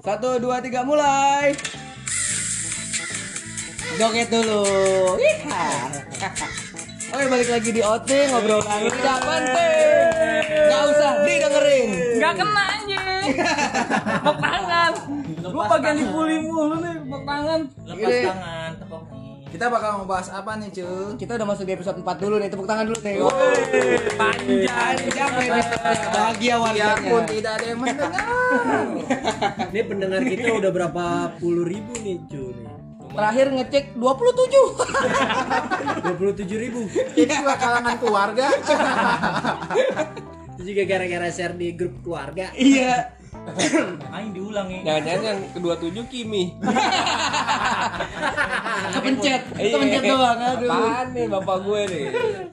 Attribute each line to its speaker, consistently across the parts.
Speaker 1: Satu, dua, tiga, mulai. Joget dulu. Iha. Oke balik lagi di OT ngobrolan tidak penting. Gak usah didengerin.
Speaker 2: Gak kena aja Tepuk tangan Lu bagian dipuli mulu nih Tepuk tangan
Speaker 3: Lepas
Speaker 1: Ini-
Speaker 3: tangan, tepuk nih.
Speaker 4: Kita bakal ngebahas apa nih, cuy?
Speaker 1: Kita udah masuk di episode 4 dulu nih. Tepuk tangan dulu nih.
Speaker 2: Panjang
Speaker 1: Panjang episode bahagia
Speaker 4: Biarpun
Speaker 1: warganya.
Speaker 4: tidak ada yang mendengar.
Speaker 5: Ini pendengar kita udah berapa puluh ribu nih cuy
Speaker 1: Terakhir ngecek 27.
Speaker 5: Dua puluh tujuh ribu
Speaker 4: Jadi dua kalangan keluarga.
Speaker 5: Itu juga gara-gara share di grup keluarga
Speaker 1: iya.
Speaker 3: Aing diulang ya.
Speaker 6: Jangan-jangan yang kedua tujuh Kimi.
Speaker 5: Nah,
Speaker 1: Kepencet.
Speaker 5: iya.
Speaker 1: Kepencet doang. Aduh.
Speaker 6: Apaan nih bapak gue nih?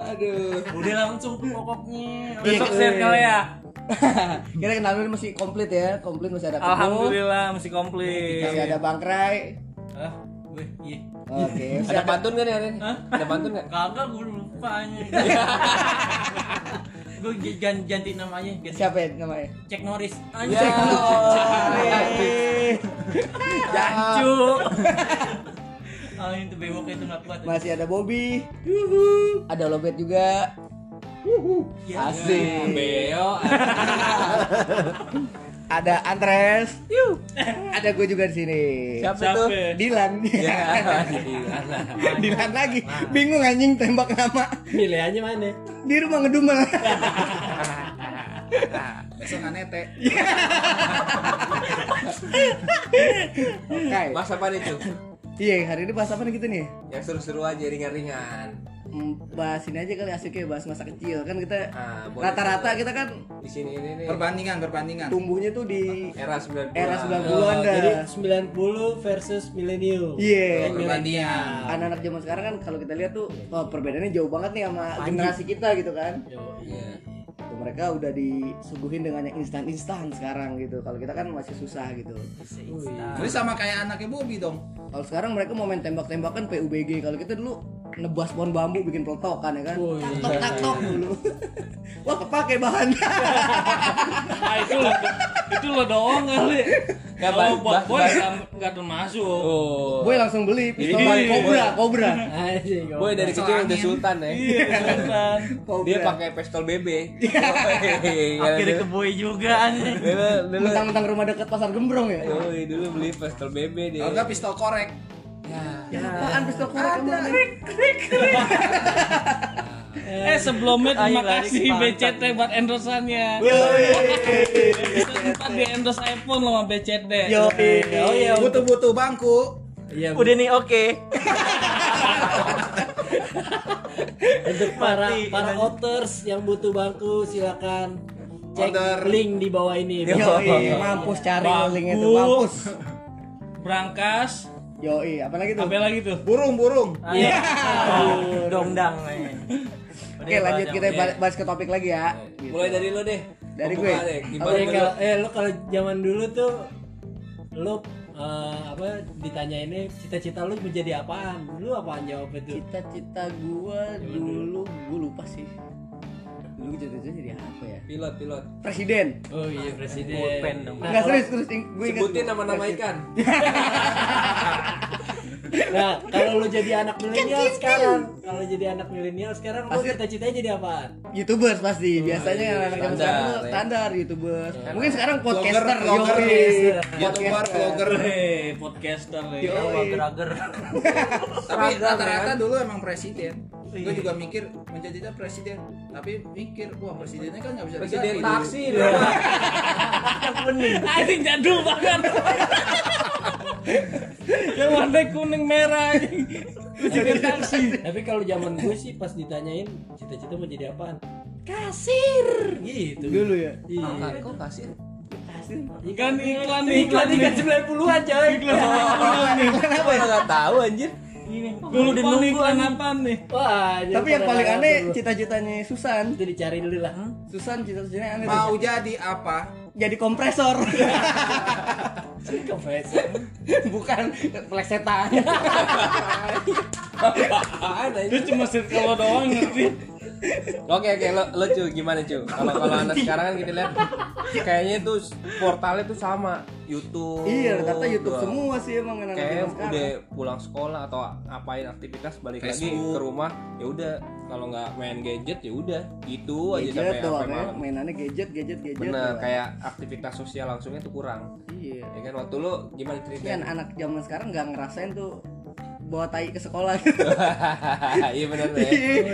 Speaker 1: Aduh.
Speaker 3: Udah langsung pokoknya. Iya.
Speaker 2: Besok set kali ya
Speaker 1: Kita kenalan dulu masih komplit ya. Komplit masih ada Kebu.
Speaker 2: Alhamdulillah masih komplit
Speaker 1: Masih ada Bangkrai.
Speaker 3: Iya, Ah, gue iya.
Speaker 1: Oke.
Speaker 6: Ada pantun kan hari ini? Ada pantun nggak?
Speaker 3: Kagak gue lupa aja. gue j- gan- ganti namanya, ganti
Speaker 1: Siapa ya namanya?
Speaker 3: Cek Norris.
Speaker 6: Ya.
Speaker 1: Cek
Speaker 2: Jancu
Speaker 3: Ah, itu bewok itu nggak kuat.
Speaker 1: Masih ada Bobby. Ada Lobet juga. Asik.
Speaker 6: Ya, Beo.
Speaker 1: Ada Andres. Ada gue juga di sini.
Speaker 6: Siapa itu?
Speaker 1: Dilan.
Speaker 6: Ya, gila lah.
Speaker 1: Dilan lagi. Bingung anjing tembak nama.
Speaker 5: Pilihannya mana?
Speaker 1: Di rumah ngedumel.
Speaker 4: Besok nete.
Speaker 1: Oke.
Speaker 6: Mas apa itu?
Speaker 1: Iya, hari ini bahas apa nih kita nih?
Speaker 6: Yang seru-seru aja ringan-ringan.
Speaker 1: Hmm, Bahas ini aja kali asiknya bahas masa kecil kan kita
Speaker 6: Ah, boleh.
Speaker 1: rata-rata kita kan
Speaker 6: Di sini ini nih.
Speaker 4: Perbandingan, perbandingan.
Speaker 1: tumbuhnya tuh di
Speaker 6: Era 90.
Speaker 1: era 90-an
Speaker 5: Oh,
Speaker 1: dah.
Speaker 5: jadi 90 versus milenium
Speaker 1: Iya.
Speaker 4: Perbandingan.
Speaker 1: anak-anak zaman sekarang kan kalau kita lihat tuh oh, perbedaannya jauh banget nih sama generasi kita gitu kan
Speaker 6: Iya.
Speaker 1: Tuh, mereka udah disuguhin dengan yang instan-instan sekarang gitu kalau kita kan masih susah gitu
Speaker 4: Jadi sama kayak anaknya Bobby dong.
Speaker 1: kalau sekarang mereka mau main tembak-tembakan PUBG kalau kita dulu nebas pohon bambu bikin pelotokan ya kan taktok taktok dulu wah kepake bahan
Speaker 2: Ah itu lo Itu lo doang kali
Speaker 6: Nggak,
Speaker 2: Kalau
Speaker 6: bah-
Speaker 2: buat
Speaker 6: bah-
Speaker 2: boy
Speaker 6: bah-
Speaker 2: nggak- nggak termasuk
Speaker 6: Oh.
Speaker 1: gue langsung beli pistol kobra kobra
Speaker 5: Anjing,
Speaker 6: Boy dari
Speaker 4: Masuk
Speaker 6: kecil udah
Speaker 4: angin.
Speaker 6: sultan ya.
Speaker 2: Beneran.
Speaker 6: Dia
Speaker 1: kobra
Speaker 6: pakai pistol BB.
Speaker 3: Akhirnya
Speaker 6: Akhirnya
Speaker 3: ke boy juga aneh.
Speaker 6: iya, dulu dulu
Speaker 1: mentang-mentang rumah dekat pasar gembrong ya
Speaker 6: Yoi, dulu beli pistol BB dia.
Speaker 4: Kalau nggak pistol korek.
Speaker 1: ya apaan pistol korek emang nih?
Speaker 2: Eh sebelumnya terima
Speaker 3: Ayo lari ke
Speaker 2: kasih
Speaker 3: pantat.
Speaker 2: BCT buat endorsannya Kita di endorse iPhone lo sama BCT
Speaker 1: yo
Speaker 5: Oh iya
Speaker 4: Butuh-butuh bangku.
Speaker 5: Iya
Speaker 3: Udah nih oke.
Speaker 5: Untuk para
Speaker 3: Mati,
Speaker 5: para
Speaker 3: anjing.
Speaker 5: otters yang butuh bangku silakan cek
Speaker 4: Order.
Speaker 5: link di bawah ini.
Speaker 1: Yoi, mampus cari
Speaker 2: Bagus.
Speaker 1: link itu, mampus.
Speaker 2: Berangkas
Speaker 1: Yoi, apalagi tuh?
Speaker 2: Apa lagi tuh?
Speaker 4: Burung-burung.
Speaker 3: Iya. Dongdang. eh.
Speaker 1: Oke, lanjut kita ba- bahas ke topik lagi ya. Gitu.
Speaker 6: Mulai dari lo deh.
Speaker 1: Dari gue.
Speaker 6: Pembuka deh, gimana
Speaker 5: Oke,
Speaker 6: menurut
Speaker 5: kalau eh lu kalau zaman dulu tuh lu eh, apa ditanya ini cita-cita lu menjadi apaan? Dulu apaan jawab itu?
Speaker 1: Cita-cita gua dulu gua lupa sih. Dulu cita-cita jadi apa ya?
Speaker 6: Pilot, pilot.
Speaker 1: Presiden.
Speaker 5: Oh iya presiden.
Speaker 3: Pulpen dong.
Speaker 1: Enggak serius, serius ing- gue ingat.
Speaker 6: Sebutin nama-nama ikan.
Speaker 5: Nah, kalau lu jadi anak milenial sekarang, kalau jadi anak milenial sekarang lu cita-citanya jadi apaan?
Speaker 1: YouTubers pasti. Biasanya anak-anak zaman
Speaker 6: standar,
Speaker 1: sekarang tuh
Speaker 6: ya.
Speaker 1: standar YouTubers. Mungkin sekarang podcaster, Iya.
Speaker 4: vlogger,
Speaker 1: yoi.
Speaker 4: Youtuber, vlogger.
Speaker 2: Hei, podcaster nih.
Speaker 3: Agar-agar.
Speaker 4: Tapi rata-rata dulu emang presiden.
Speaker 7: Iya.
Speaker 4: Gue juga mikir menjadi presiden. Tapi mikir, wah presidennya kan nggak bisa
Speaker 6: Presiden
Speaker 4: diganti.
Speaker 6: taksi deh.
Speaker 4: Wah,
Speaker 2: Anjing jadul banget. Yang warna kuning merah anjing. Jadi taksi.
Speaker 5: Tapi kalau zaman gue sih pas ditanyain cita-cita mau jadi apaan? Kasir. Gitu.
Speaker 1: Dulu ya.
Speaker 5: Iya.
Speaker 6: Kok kasir?
Speaker 2: Kan iklan nih,
Speaker 5: Iklan ikan 90-an coy.
Speaker 6: Kenapa ya nggak tahu anjir?
Speaker 2: Dulu di nunggu iklan apaan nih?
Speaker 5: Wah, jadi
Speaker 1: Tapi yang
Speaker 5: pada
Speaker 1: paling
Speaker 5: nanya
Speaker 1: aneh
Speaker 5: dulu.
Speaker 1: cita-citanya Susan.
Speaker 5: itu dicari dulu lah.
Speaker 1: Susan cita-citanya aneh.
Speaker 4: Mau jadi apa?
Speaker 1: Jadi kompresor.
Speaker 5: Kompresor.
Speaker 1: Bukan plesetan.
Speaker 6: Apaan
Speaker 2: Itu
Speaker 6: anjir?
Speaker 2: cuma circle lo doang ngerti.
Speaker 6: Oke oke lo lo cu gimana cu? Kalau kalau anak
Speaker 1: Iya.
Speaker 6: sekarang kan kita lihat kayaknya tuh portalnya tuh sama YouTube.
Speaker 1: Iya, rata-rata YouTube
Speaker 6: doang.
Speaker 1: semua sih emang anak
Speaker 6: Kayaknya
Speaker 1: zaman sekarang.
Speaker 6: Oh, udah pulang sekolah atau ngapain aktivitas balik lagi
Speaker 4: Facebook.
Speaker 6: ke rumah ya udah kalau nggak main gadget ya udah gitu aja
Speaker 1: gadget
Speaker 6: sampai
Speaker 1: doang
Speaker 6: sampai
Speaker 1: ya,
Speaker 6: malam.
Speaker 1: mainannya gadget, gadget, gadget.
Speaker 6: Bener
Speaker 1: doang.
Speaker 6: kayak aktivitas sosial langsungnya tuh kurang.
Speaker 1: Iya.
Speaker 6: Ya kan waktu lo
Speaker 8: Iya.
Speaker 1: Ini
Speaker 6: gimana ceritanya?
Speaker 1: Iya, anak zaman sekarang nggak ngerasain tuh bawa tai ke sekolah. nah.
Speaker 6: Iya bener ya.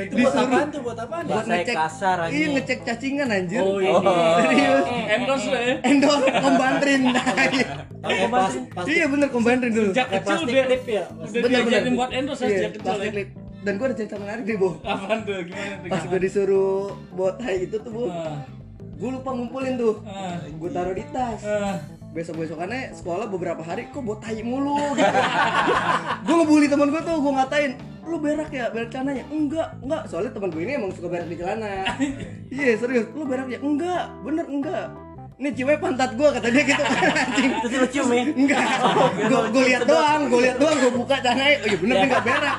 Speaker 7: Buat apaan tuh? Buat apaan?
Speaker 5: ya?
Speaker 1: Buat
Speaker 2: Bahasa
Speaker 1: ngecek-
Speaker 2: kasar aja.
Speaker 1: Iya ngecek cacingan anjir.
Speaker 7: Oh, iya.
Speaker 1: Serius.
Speaker 8: Endorse lo ya.
Speaker 1: Endor kombantrin.
Speaker 7: Eh, pas, pas,
Speaker 1: iya bener kombantrin dulu.
Speaker 5: Eh,
Speaker 8: Sejak kecil
Speaker 7: plastik
Speaker 8: udah
Speaker 7: clip
Speaker 5: Iya.
Speaker 7: ya?
Speaker 8: udah diajarin buat
Speaker 2: eh,
Speaker 8: endorse ya
Speaker 1: Iya,
Speaker 8: sejak kecil.
Speaker 1: plastik
Speaker 8: ya.
Speaker 1: lip. Dan gue ada cerita menarik deh, Bu.
Speaker 8: Apaan tuh? Gimana tuh?
Speaker 1: Pas gue disuruh buat tai itu tuh, Bu.
Speaker 8: Ah,
Speaker 1: Gue lupa ngumpulin tuh.
Speaker 8: ah,
Speaker 1: Gue taruh di tas.
Speaker 8: ah.
Speaker 1: besok-besokannya sekolah beberapa hari kok buat tai mulu gitu. gue ngebully teman gue tuh gue ngatain lu berak ya berak celananya enggak enggak soalnya teman gue ini emang suka berak di celana iya serius lu berak ya enggak bener enggak ini cewek pantat gue kata dia gitu anjing
Speaker 2: Terus lo cium ya?
Speaker 1: enggak gue gue lihat doang gue lihat doang gue buka celananya oh iya bener nih enggak berak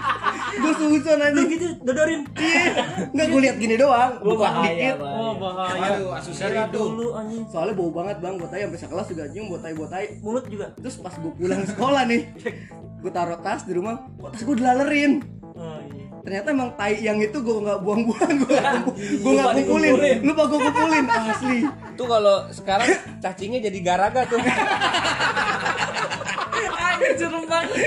Speaker 1: gue susun
Speaker 2: Lu
Speaker 1: anjing
Speaker 2: gitu dodorin. Iya.
Speaker 1: iya enggak gue lihat gini doang buka dikit
Speaker 8: Oh, bahaya.
Speaker 6: Iya,
Speaker 4: Aduh, asusnya
Speaker 2: Berat
Speaker 4: hidup.
Speaker 2: dulu anjing.
Speaker 1: soalnya bau banget bang buat tai sampai sekelas juga nyium buat tai buat tai
Speaker 2: Mulut juga.
Speaker 1: terus pas gue pulang sekolah nih gue taruh tas di rumah kok tas gue dilalerin
Speaker 2: Oh iya.
Speaker 1: ternyata emang tai yang itu gue nggak buang-buang gue gue nggak kumpulin lupa gue kumpulin asli
Speaker 6: Tuh kalau sekarang cacingnya jadi garaga tuh.
Speaker 8: Anjir serem banget.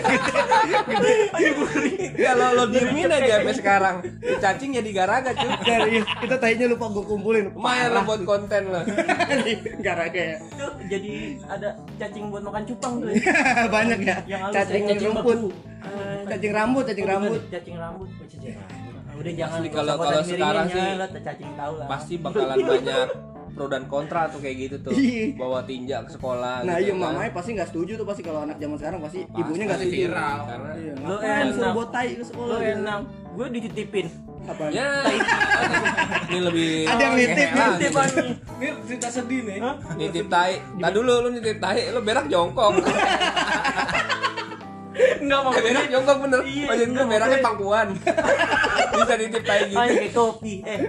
Speaker 6: Kalau lo diemin aja sampai sekarang, tuh cacing jadi garaga cuy.
Speaker 1: serius itu Iya, tainya lupa gue kumpulin
Speaker 6: Lumayan lo buat konten lo.
Speaker 1: gara kayak
Speaker 2: Itu jadi ada cacing buat makan cupang tuh. ya.
Speaker 1: banyak ya
Speaker 2: Yang halus,
Speaker 1: cacing
Speaker 2: yang cacing
Speaker 1: rumput
Speaker 2: batu.
Speaker 1: Eh, cacing rambut cacing
Speaker 2: Oh,
Speaker 1: rambut
Speaker 2: bener, Cacing rambut. Nah, Udah jangan
Speaker 6: Asli, kalau-
Speaker 2: kotak-kotak
Speaker 6: kalau
Speaker 2: miringnya
Speaker 6: sekarang sih,
Speaker 2: nyala, ya, cacing tahu lah.
Speaker 6: Pasti bakalan banyak pro dan kontra tuh kayak gitu tuh.
Speaker 1: Iya.
Speaker 6: Bawa tinja ke sekolah.
Speaker 1: nah iya
Speaker 6: gitu kan.
Speaker 1: mamanya pasti nggak setuju tuh pasti kalau anak zaman sekarang pasti
Speaker 6: Pasti
Speaker 1: ibunya nggak setuju
Speaker 4: viral.
Speaker 6: Karena
Speaker 1: Iya,
Speaker 2: Lu
Speaker 1: ngapain suruh
Speaker 2: enak.
Speaker 1: buat tai ke
Speaker 2: Lu
Speaker 1: sekolah gitu.
Speaker 2: enak. Gue dititipin.
Speaker 1: Apa?
Speaker 6: ya ini lebih
Speaker 1: Ada yang nitip,
Speaker 6: ngehe
Speaker 1: nitip,
Speaker 6: lah.
Speaker 8: Ini cerita sedih nih.
Speaker 6: nitip tai. Tadi dulu lu nitip tai, lu berak jongkok.
Speaker 8: Enggak mau
Speaker 6: Eh, berak jongkok bener.
Speaker 2: Iya,
Speaker 6: Maksud gue
Speaker 2: enggak,
Speaker 6: beraknya
Speaker 2: maksudnya-
Speaker 6: pangkuan. Bisa nitip tai gitu.
Speaker 2: Ah, Kayak kayak topi. Eh,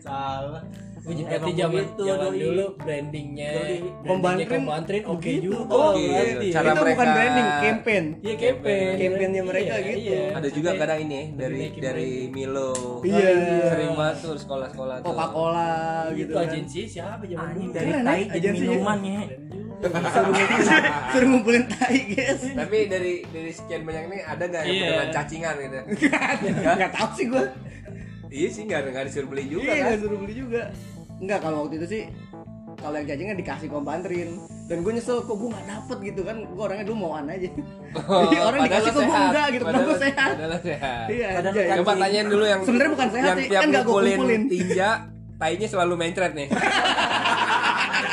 Speaker 2: salah.
Speaker 7: Uji
Speaker 2: Emang
Speaker 7: tapi zaman
Speaker 2: begitu,
Speaker 7: zaman
Speaker 2: doi.
Speaker 7: dulu brandingnya,
Speaker 2: Doi.
Speaker 7: brandingnya
Speaker 1: Kombantrin.
Speaker 7: Kombantrin oke juga.
Speaker 1: Oh,
Speaker 6: Oke,
Speaker 1: berarti.
Speaker 6: Gitu, cara
Speaker 1: itu bukan
Speaker 6: mereka-
Speaker 1: branding, campaign.
Speaker 7: Iya campaign,
Speaker 1: Campaignnya mereka
Speaker 7: Iya,
Speaker 1: gitu.
Speaker 7: iya.
Speaker 6: Ada juga kadang ini ya, dari
Speaker 7: Naikin
Speaker 6: dari Milo.
Speaker 1: Iya.
Speaker 6: Sering banget tuh sekolah-sekolah tuh.
Speaker 1: Coca-Cola gitu
Speaker 7: Itu
Speaker 1: kan.
Speaker 7: agensi siapa zaman
Speaker 2: Anjing
Speaker 7: dulu?
Speaker 2: dari
Speaker 1: Keren,
Speaker 2: tai
Speaker 1: ya,
Speaker 2: jadi
Speaker 1: agensinya.
Speaker 2: minuman ya.
Speaker 1: Suruh ngumpulin, suruh ngumpulin tai, guys.
Speaker 6: Tapi dari dari sekian banyak ini ada nggak yang
Speaker 8: Iya.
Speaker 6: beneran cacingan gitu?
Speaker 1: Enggak tahu sih gua.
Speaker 6: iya sih nggak nggak disuruh beli juga
Speaker 1: Iya,
Speaker 6: kan?
Speaker 1: enggak suruh beli juga. Enggak kalau waktu itu sih kalau yang jajangan dikasih kombantrin dan gue nyesel kok gue gak dapet gitu kan gue orangnya dulu mauan aja Jadi Iya, orang
Speaker 6: Oh, Padahal
Speaker 1: dikasih
Speaker 6: lo
Speaker 1: kok gue
Speaker 6: sehat.
Speaker 1: enggak gitu kenapa
Speaker 6: Padahal-
Speaker 1: gue sehat
Speaker 6: Padahal kan sehat.
Speaker 1: iya
Speaker 2: Padahal
Speaker 1: anjay.
Speaker 2: lo
Speaker 6: Coba tanyain dulu yang
Speaker 1: Sebenarnya bukan sehat
Speaker 6: yang
Speaker 1: sih,
Speaker 6: tiap
Speaker 1: kan nggak gua
Speaker 6: ngumpulin
Speaker 1: kumpulin.
Speaker 6: tinja tainya selalu mencret nih.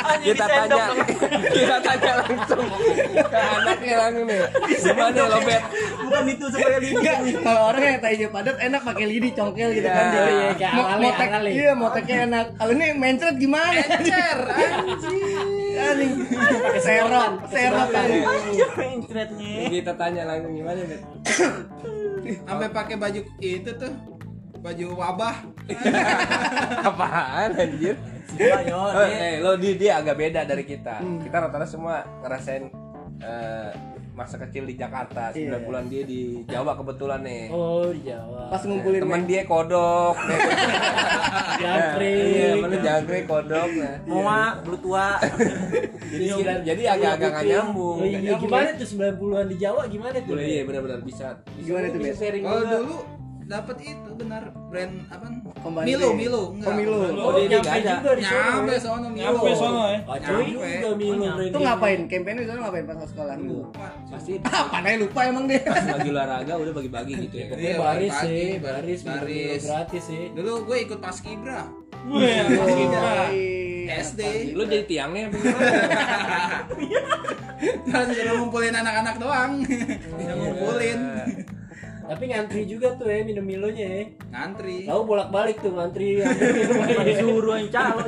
Speaker 2: Anjing
Speaker 6: kita tanya, kita tanya langsung ke anaknya langsung nih. Gimana lobet?
Speaker 2: Bukan itu supaya di
Speaker 1: Enggak, kalau orang yang tainya padat enak pakai lidi congkel gitu kan
Speaker 6: Iya,
Speaker 1: jadi
Speaker 7: iya, kayak
Speaker 1: mo-
Speaker 7: awalnya,
Speaker 1: motek
Speaker 7: awalnya.
Speaker 1: iya moteknya enak kalau ini mencret gimana encer anjing pakai serot serot kan. anjing.
Speaker 2: aja mencretnya.
Speaker 6: Kita tanya langsung gimana, Bet?
Speaker 4: Sampai pakai baju itu tuh baju wabah.
Speaker 6: Apaan anjir?
Speaker 2: Gua yo,
Speaker 6: Oh,
Speaker 2: Dek.
Speaker 6: eh, lo di dia agak beda dari kita.
Speaker 1: Hmm.
Speaker 6: Kita rata-rata semua ngerasain eh, masa kecil di Jakarta, 9
Speaker 1: Iya.
Speaker 6: bulan dia di Jawa kebetulan nih.
Speaker 7: Oh di
Speaker 2: iya.
Speaker 7: Jawa.
Speaker 1: pas ngumpulin
Speaker 6: Temen dia kodok. Iya,
Speaker 7: Jangkrik.
Speaker 6: mana jangkrik kodok. Nah.
Speaker 2: Mua, bulu tua.
Speaker 6: Jadi kira- Iya, jadi agak-agak nggak nyambung. ya?
Speaker 7: Oh, iya, gimana tuh 90-an di Jawa gimana tuh?
Speaker 6: Boleh iya Oh, benar-benar bisa.
Speaker 1: Gimana tuh,
Speaker 6: bisa
Speaker 1: Bet?
Speaker 6: sharing
Speaker 4: Kalau
Speaker 6: juga.
Speaker 4: dulu dapat itu benar brand apa?
Speaker 1: Kombantrin.
Speaker 4: Milo, Milo, enggak.
Speaker 1: Oh, Milo.
Speaker 7: Oh,
Speaker 6: dia
Speaker 7: nyampe
Speaker 6: nggak ada.
Speaker 7: juga di sono.
Speaker 4: Nyampe sono Milo.
Speaker 8: Nyampe sono
Speaker 2: eh.
Speaker 8: ya.
Speaker 7: Oh, cuy
Speaker 4: Nyampe.
Speaker 7: juga Milo branding.
Speaker 5: Iya.
Speaker 1: itu ngapain campaign itu ngapain pas ke sekolah dulu
Speaker 6: Pasti
Speaker 1: apa nih lupa emang dia
Speaker 6: pas lagi olahraga udah bagi-bagi gitu ya.
Speaker 7: Pokoknya
Speaker 4: Iya,
Speaker 7: baris
Speaker 4: pagi,
Speaker 7: sih,
Speaker 4: bar-
Speaker 7: baris,
Speaker 4: baris.
Speaker 7: baris. gratis sih.
Speaker 4: Dulu gue ikut paskibra.
Speaker 8: Wih,
Speaker 4: Iya.
Speaker 1: Iya.
Speaker 4: SD.
Speaker 6: Lu jadi tiangnya apa
Speaker 4: Terus dulu Kan ngumpulin anak-anak doang.
Speaker 7: Iya.
Speaker 4: Yang ngumpulin.
Speaker 7: Tapi ngantri juga tuh ya minum Milonya ya.
Speaker 4: Ngantri.
Speaker 7: Tahu bolak-balik ya. tuh ngantri. ambil minum aja.
Speaker 2: Disuruh yang calo.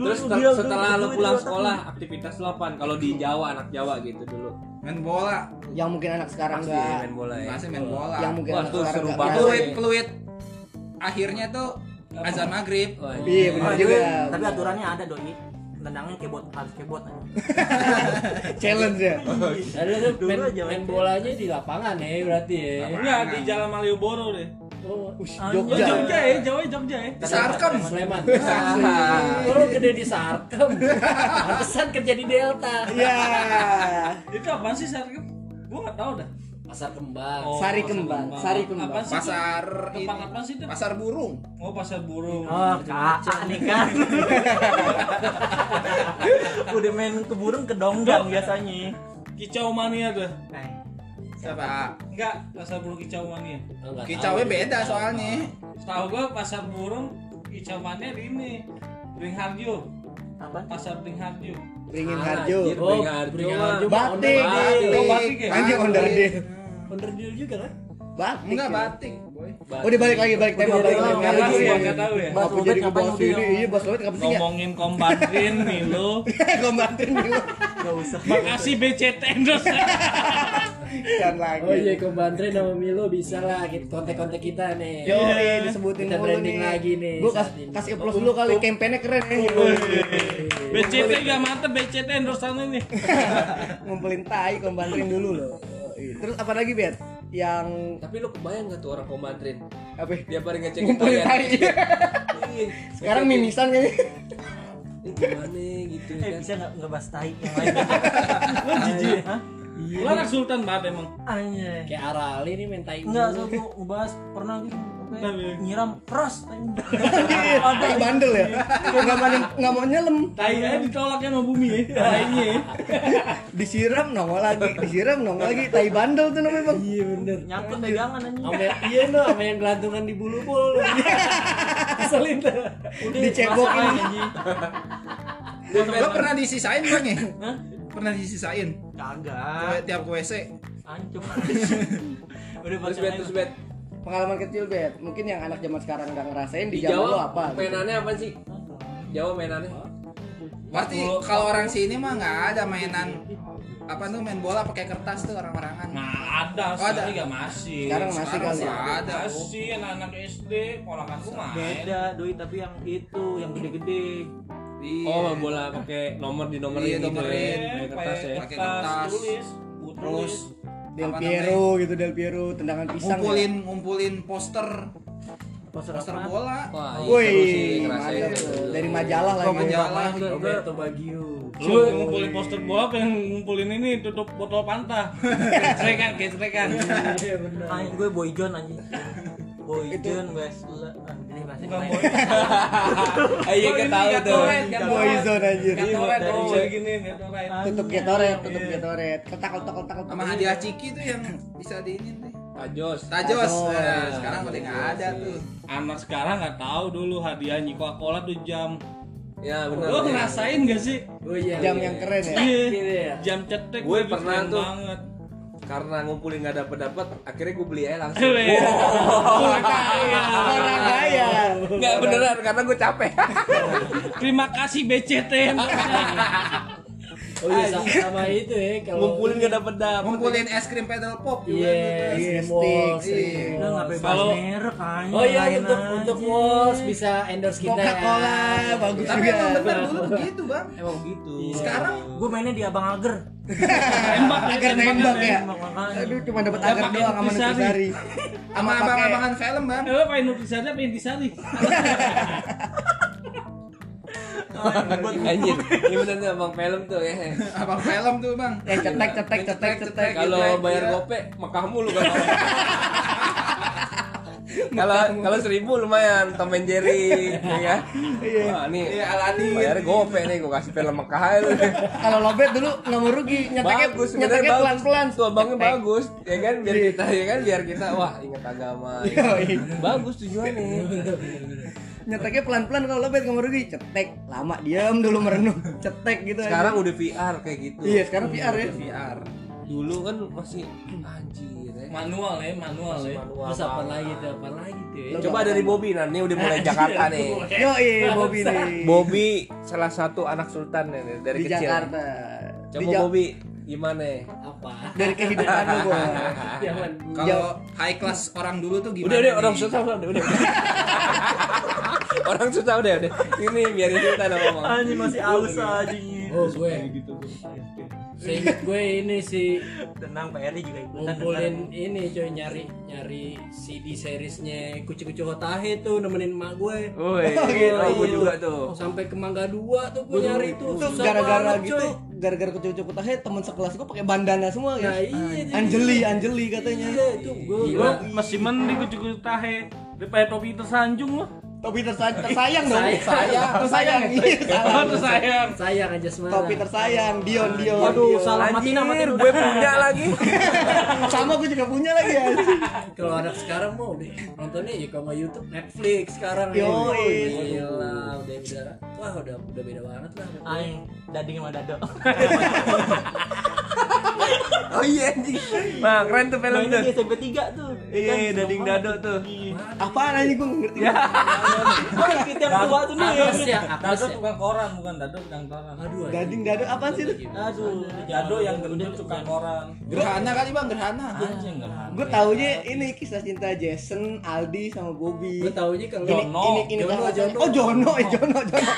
Speaker 6: Terus te- setelah lu pulang sekolah aktivitas lu apaan? Kalau di Jawa anak Jawa gitu dulu.
Speaker 4: main bola
Speaker 1: yang mungkin anak sekarang
Speaker 6: Pasti
Speaker 1: enggak
Speaker 6: main bola ya.
Speaker 4: masih main bola
Speaker 1: yang mungkin
Speaker 6: Wah,
Speaker 1: anak
Speaker 6: tuh
Speaker 1: sekarang Iya.
Speaker 6: seru
Speaker 1: nggak
Speaker 6: banget.
Speaker 1: ngerasain.
Speaker 4: peluit peluit akhirnya tuh azan maghrib
Speaker 6: Wah,
Speaker 1: Iya benar
Speaker 8: Tapi,
Speaker 1: juga.
Speaker 8: tapi aturannya ada doi. Tendangnya kebot harus kebot.
Speaker 1: challenge ya.
Speaker 7: Lalu lu
Speaker 8: Dulu
Speaker 7: main,
Speaker 8: aja
Speaker 7: main
Speaker 8: main.
Speaker 7: bolanya di lapangan ya berarti ya.
Speaker 2: Enggak, Ah, di
Speaker 4: Nah.
Speaker 2: Jalan Malioboro deh.
Speaker 7: Oh,
Speaker 1: Ush,
Speaker 8: Anjing,
Speaker 1: Jogja.
Speaker 2: Ya, Jogja ya, Jawa ya, Jogja ya.
Speaker 4: di sarkem
Speaker 7: Sleman.
Speaker 6: Ah.
Speaker 7: Oh, lu gede di Sarkem. Pantesan kerja di Delta.
Speaker 1: Iya.
Speaker 2: Itu apa sih sarkem? Gua nggak tahu dah.
Speaker 7: Pasar Kembang.
Speaker 2: Oh,
Speaker 1: Sari
Speaker 2: pasar
Speaker 1: kembang, sari kembang.
Speaker 2: Apa sih?
Speaker 4: pasar ini
Speaker 2: Tempat apa sih itu?
Speaker 4: pasar burung
Speaker 2: Oh, pasar burung.
Speaker 8: Oh, kakak nih kan. Udah main ke burung ke donggang biasanya.
Speaker 2: Kicau mania tuh.
Speaker 4: siapa
Speaker 2: Enggak, pasar burung kicau mania.
Speaker 7: Oh, nggak
Speaker 4: kicaunya
Speaker 7: tahu.
Speaker 4: beda soalnya
Speaker 2: Tahu gua pasar burung kicau mania di ini. Ringharjo,
Speaker 8: Apa?
Speaker 2: pasar Ringharjo.
Speaker 1: Beringin
Speaker 6: Ah,
Speaker 1: Harjo.
Speaker 6: anjir,
Speaker 7: Oh,
Speaker 6: Bringarjo.
Speaker 7: Bringarjo.
Speaker 1: Batik.
Speaker 6: Batik.
Speaker 1: Oh,
Speaker 2: Batik ya?
Speaker 1: Anjing onderdil.
Speaker 7: Onderdil juga kan?
Speaker 1: Batik.
Speaker 4: enggak
Speaker 1: ya.
Speaker 4: batik boy
Speaker 1: Oh, dia balik lagi balik tema
Speaker 7: Udah,
Speaker 1: balik
Speaker 7: udah,
Speaker 1: tema.
Speaker 2: Enggak tahu ya,
Speaker 1: Iya.
Speaker 2: enggak tahu ya.
Speaker 1: Aku
Speaker 8: Lobet
Speaker 1: jadi
Speaker 8: ngapain
Speaker 1: ngebahas
Speaker 8: dia?
Speaker 1: ini. Iya, bahas lobet ngapain sih ya?
Speaker 2: Ngomongin kombatrin nih lo.
Speaker 1: Kombatin dulu.
Speaker 8: Gak usah.
Speaker 2: Makasih BCT endorse.
Speaker 1: Kan lagi.
Speaker 7: Oh iya, ke Bantre nama Milo bisa lah gitu kontak-kontak kita nih.
Speaker 1: Yo, iya, disebutin
Speaker 7: Kita
Speaker 1: mulu
Speaker 7: branding
Speaker 1: nih.
Speaker 7: lagi nih
Speaker 1: Gua
Speaker 7: saat
Speaker 1: kas-
Speaker 7: ini.
Speaker 1: kasih applause dulu kali kampanye keren nih.
Speaker 2: BCT enggak mantep BCT endorsean ini.
Speaker 1: Ngumpulin tai kombatin dulu loh. Iya. Terus apa lagi, Bet? Yang
Speaker 6: Tapi lu kebayang gak tuh orang komandrin?
Speaker 1: apa? ya?
Speaker 6: Dia paling ngecekin
Speaker 1: Ngumpulin
Speaker 6: kalian.
Speaker 1: tai.
Speaker 6: Iya.
Speaker 1: Sekarang mimisan kayaknya.
Speaker 6: Ini gimana gitu
Speaker 8: Eh,
Speaker 6: kan?
Speaker 8: bisa nggak nggak bahas tai yang lain?
Speaker 2: Lo jijik. Lo anak sultan banget emang.
Speaker 8: Anjay.
Speaker 7: Kayak Arali nih main tai
Speaker 8: Enggak, so
Speaker 7: mulu.
Speaker 8: gua ngebahas pernah gitu apa ya,
Speaker 2: Tapi-
Speaker 8: nyiram pros
Speaker 1: Tai bandel ya. Enggak mau enggak mau nyelem.
Speaker 2: Tainya ditolak ya sama bumi ya. Tainya ya.
Speaker 1: Disiram nongol lagi, disiram nongol lagi. Tai bandel tuh namanya, Bang.
Speaker 7: Iya bener.
Speaker 8: nyangkut pegangan anjing
Speaker 7: Ame iya no, ame yang gelantungan di bulu bul. Keselin dah.
Speaker 8: udah
Speaker 1: dicebokin.
Speaker 8: masa lain, anjing.
Speaker 4: gua pernah disisain gua nih pernah disisain
Speaker 2: Ah.
Speaker 8: kagak
Speaker 4: tiap ke WC
Speaker 8: ancur udah
Speaker 6: Terus
Speaker 8: bahas
Speaker 6: bet,
Speaker 8: yang
Speaker 6: terus
Speaker 8: lain.
Speaker 6: bet.
Speaker 1: Pengalaman kecil, Bet. Mungkin yang anak zaman sekarang nggak ngerasain di,
Speaker 6: Di
Speaker 1: Jawa, lo
Speaker 6: Jawa
Speaker 1: apa?
Speaker 6: mainannya apa sih? Jawa mainannya?
Speaker 4: pasti kalau orang sini mah nggak ada mainan apa tuh main bola pakai kertas tuh orang-orangan
Speaker 2: Nah ada,
Speaker 4: Oh, ada.
Speaker 2: sekarang nggak masih.
Speaker 1: Sekarang masih
Speaker 4: Sekarang
Speaker 1: kali.
Speaker 4: sih
Speaker 1: ya?
Speaker 4: ada oh.
Speaker 2: Masih anak-anak SD, ponakan gue main.
Speaker 8: beda doi tapi yang itu yang gede-gede
Speaker 4: Iya.
Speaker 6: Oh, bola pakai nomor di nomor
Speaker 4: Iya,
Speaker 6: gitu
Speaker 4: nomorin.
Speaker 6: ya. Pakai kertas ya.
Speaker 4: Pakai
Speaker 2: Pakai kertas,
Speaker 4: kertas.
Speaker 2: tulis,
Speaker 4: terus
Speaker 2: terus
Speaker 1: Del
Speaker 4: apa
Speaker 1: Piero gitu, Del Piero, tendangan
Speaker 4: namanya?
Speaker 1: pisang. ya.
Speaker 4: ngumpulin ngumpulin poster
Speaker 8: poster
Speaker 4: poster
Speaker 8: apaan?
Speaker 4: bola
Speaker 6: Wah,
Speaker 1: Ya?
Speaker 6: iya, seru sih
Speaker 1: Wih,
Speaker 6: ngerasain.
Speaker 1: mantap tuh. dari majalah lagi.
Speaker 4: majalah
Speaker 7: Roberto Baggio.
Speaker 2: Lu ngumpulin poster bola apa yang ngumpulin ini tutup botol panta Kecrekan, kecrekan
Speaker 7: Iya bener.
Speaker 8: Anjing, gue boy john anjing boy john wes ini bahasa yang Ah,
Speaker 2: Bukan
Speaker 8: lain.
Speaker 2: boy
Speaker 6: Ah, Iya, kan? kita tahu tuh.
Speaker 1: Boyzone anjir.
Speaker 2: Gatoret,
Speaker 8: Dari-
Speaker 2: oh gini, gatoret
Speaker 1: Tutup getoret, tutup getoret. Ketak ketak ketak ketak.
Speaker 4: sama hadiah ciki tuh yang bisa diinin nih
Speaker 6: Tajos.
Speaker 4: tajos
Speaker 1: Tajos.
Speaker 4: Nah, sekarang udah nggak ada
Speaker 6: iya.
Speaker 4: tuh
Speaker 2: Anak sekarang nggak tahu dulu hadiah Coca Cola tuh jam
Speaker 6: Ya, benar.
Speaker 2: Lo ngerasain gak sih?
Speaker 7: Oh iya.
Speaker 1: Jam yang keren ya.
Speaker 7: Gitu ya.
Speaker 2: Iya, jam cetek
Speaker 6: Gue
Speaker 2: tuh
Speaker 6: pernah
Speaker 2: keren
Speaker 6: tuh.
Speaker 2: banget
Speaker 6: Karena ngumpulin nggak dapet dapet, akhirnya gue beli aja langsung.
Speaker 2: Weh. Orang
Speaker 1: iya, Orang
Speaker 2: kaya.
Speaker 1: kaya.
Speaker 6: Nggak beneran karena gue capek.
Speaker 2: Terima kasih BCT.
Speaker 7: Oh iya sa- sama itu ya kalau
Speaker 6: ngumpulin nggak dapet dapet.
Speaker 4: ngumpulin es krim pedal pop juga tuh.
Speaker 7: Yes,
Speaker 1: Iya,
Speaker 7: yes, Walls,
Speaker 1: stick,
Speaker 7: iya.
Speaker 1: iya.
Speaker 8: Udah, ngapain bahas
Speaker 2: Kalau-
Speaker 8: merek anjing
Speaker 7: Oh iya
Speaker 8: lain
Speaker 7: untuk
Speaker 8: aja.
Speaker 7: untuk Walls bisa endorse kita ya.
Speaker 1: Coca-Cola, bagus
Speaker 4: tapi
Speaker 1: juga.
Speaker 4: emang bener kan? dulu begitu bang
Speaker 6: Emang gitu.
Speaker 4: sekarang
Speaker 8: gue mainnya di abang alger
Speaker 2: Tembak
Speaker 1: Agar nembak ya.
Speaker 8: Nembak, makanya.
Speaker 1: Aduh, cuma dapat
Speaker 2: Nggak
Speaker 1: agar
Speaker 2: pakai
Speaker 1: doang sama
Speaker 2: Nutrisari.
Speaker 1: Nutrisari.
Speaker 4: sama
Speaker 1: pakai-
Speaker 4: abang-abangan film bang
Speaker 2: Lo pengen nutrisari Eh, apa intisari?
Speaker 6: Iya, Anjir, ini bener tuh bang film tuh ya.
Speaker 4: abang film tuh bang
Speaker 1: Eh, cetek cetek cetek cetek.
Speaker 6: Kalau
Speaker 4: Iya.
Speaker 6: bayar gope, Mekah mulu kan. Kalau kalau seribu lumayan Tom and Jerry, ya. Wah, nih.
Speaker 4: Iya, Aladdin.
Speaker 6: Bayarnya gope nih, gue kasih film Mekah aja. lu.
Speaker 1: Kalau lobet dulu nggak mau rugi, nyeteknya
Speaker 6: bagus
Speaker 1: nyeteknya
Speaker 6: sebenarnya
Speaker 1: pelan pelan.
Speaker 6: bagus. tuh abangnya bagus ya kan biar kita ya kan biar kita wah ingat agama
Speaker 1: Iya.
Speaker 6: ya. bagus tujuannya
Speaker 1: Nyeteknya pelan pelan kalau lobet nggak mau rugi. Cetek lama diam dulu merenung. Cetek gitu. aja.
Speaker 6: sekarang udah VR kayak gitu
Speaker 1: Iya sekarang VR ya.
Speaker 4: VR
Speaker 6: dulu kan masih anjir ya
Speaker 4: ya.
Speaker 8: manual ya manual ya
Speaker 7: Terus apa lagi tuh? Apa lagi tuh? ya?
Speaker 6: Coba dari Bobby nah ini udah mulai Jakarta nih.
Speaker 1: Yo, Bobby nih.
Speaker 6: Bobby salah satu anak sultan nih dari
Speaker 1: di
Speaker 6: kecil.
Speaker 1: Jakarta. Di
Speaker 6: Coba
Speaker 1: Ja-
Speaker 6: Bobby gimana?
Speaker 7: Apa?
Speaker 1: dari kehidupan lu, Boy.
Speaker 7: Zaman dulu.
Speaker 4: Kalau high class orang dulu tuh gimana?
Speaker 6: Udah udah
Speaker 4: nih?
Speaker 6: orang susah udah udah. udah. orang susah udah udah. Ini biarin kita dong ngomong.
Speaker 5: Anjing masih aus anjing.
Speaker 7: Oh gue.
Speaker 8: gitu.
Speaker 7: Seinget gue ini si
Speaker 5: Tenang Pak Eri juga ikutan.
Speaker 7: ngumpulin ini coy nyari nyari CD seriesnya kucu-kucu Hotahe tuh nemenin emak gue.
Speaker 6: Woi,
Speaker 7: Iya,
Speaker 6: oh, gue
Speaker 7: iya.
Speaker 6: juga tuh.
Speaker 7: Sampai ke Mangga 2 tuh gue nyari tuh.
Speaker 1: Itu
Speaker 7: Susah
Speaker 1: gara-gara
Speaker 7: banget,
Speaker 1: gitu,
Speaker 7: coy.
Speaker 1: gara-gara kecucu kutahe teman sekelas gua pakai bandana semua
Speaker 7: Nah,
Speaker 1: ya.
Speaker 7: iya. jadi-
Speaker 1: Anjeli, Anjeli katanya.
Speaker 7: Iya, itu gue.
Speaker 2: Gue masih mending kucu-kucu tahe daripada topi tersanjung loh.
Speaker 1: Topi tersayang, tersayang dong.
Speaker 7: Sayang.
Speaker 1: Sayang, tersayang. Iya, salah.
Speaker 2: Oh,
Speaker 7: ya?
Speaker 2: tersayang.
Speaker 7: Sayang aja semua.
Speaker 1: Topi tersayang, Dion, Dion.
Speaker 5: Waduh,
Speaker 1: Dion.
Speaker 5: salah mati
Speaker 6: Anjir,
Speaker 5: nama
Speaker 6: gue punya lagi.
Speaker 1: Sama gue juga punya lagi ya.
Speaker 7: Kalau anak sekarang mau deh nontonnya ya kalau nggak YouTube Netflix sekarang.
Speaker 1: Yoi.
Speaker 7: Gila, udah beda. Wah, udah udah beda banget lah.
Speaker 5: Aing dading sama dado.
Speaker 6: Oh iya anjing. Wah, keren tuh film
Speaker 5: Mainnya
Speaker 6: tuh.
Speaker 5: di SMP 3 tuh.
Speaker 6: Iya,
Speaker 8: Kan?
Speaker 6: dading dado tuh.
Speaker 1: Apaan aja gue ngerti.
Speaker 8: Oh,
Speaker 5: Kita yang tua tuh nih.
Speaker 7: Apes ya, apes
Speaker 8: Dado
Speaker 7: ya.
Speaker 8: tukang koran bukan Dado tukang koran.
Speaker 7: Aduh. anjing.
Speaker 1: Gading dado apa sih? itu?
Speaker 5: Aduh,
Speaker 8: Dado yang gendut tukang koran.
Speaker 4: gerhana kali bang gerhana.
Speaker 8: Anjing kan.
Speaker 1: Gue taunya ini kisah cinta Jason, Aldi sama Bobby.
Speaker 7: Gue taunya kalau
Speaker 1: ini,
Speaker 8: Jono.
Speaker 1: ini, ini,
Speaker 7: Jono,
Speaker 1: kan
Speaker 7: Jono.
Speaker 1: Oh Jono, eh, Jono, Jono.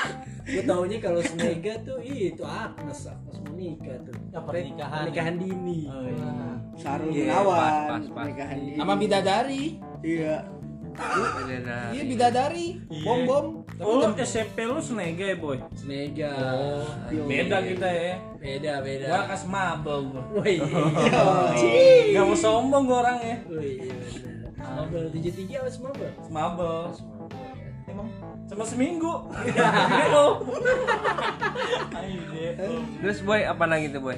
Speaker 7: gue taunya kalau Smega tuh ih, itu Agnes Agnes menikah tuh
Speaker 5: Ya, pernikahan. Oh, Nah,
Speaker 7: pernikahan dini
Speaker 1: Sarul
Speaker 6: Iya,
Speaker 1: Gunawan,
Speaker 6: pas, pas, pas.
Speaker 1: nikahan dia.
Speaker 4: Sama bidadari.
Speaker 1: Iya.
Speaker 4: Iya bidadari. Bom bom.
Speaker 2: Oh, lu SMP lu senega ya, boy.
Speaker 7: Smega
Speaker 2: Beda kita ya.
Speaker 7: beda beda
Speaker 2: Gua kas mabel gua.
Speaker 6: Oh,
Speaker 7: woi
Speaker 6: iya.
Speaker 1: Yoi.
Speaker 2: Gak mau sombong gua orang ya.
Speaker 7: woi iya bener. Mabel tujuh tiga apa semabel
Speaker 2: Mabel. Emang cuma seminggu. Ayo. Ayo.
Speaker 6: Terus boy, apa lagi tuh boy?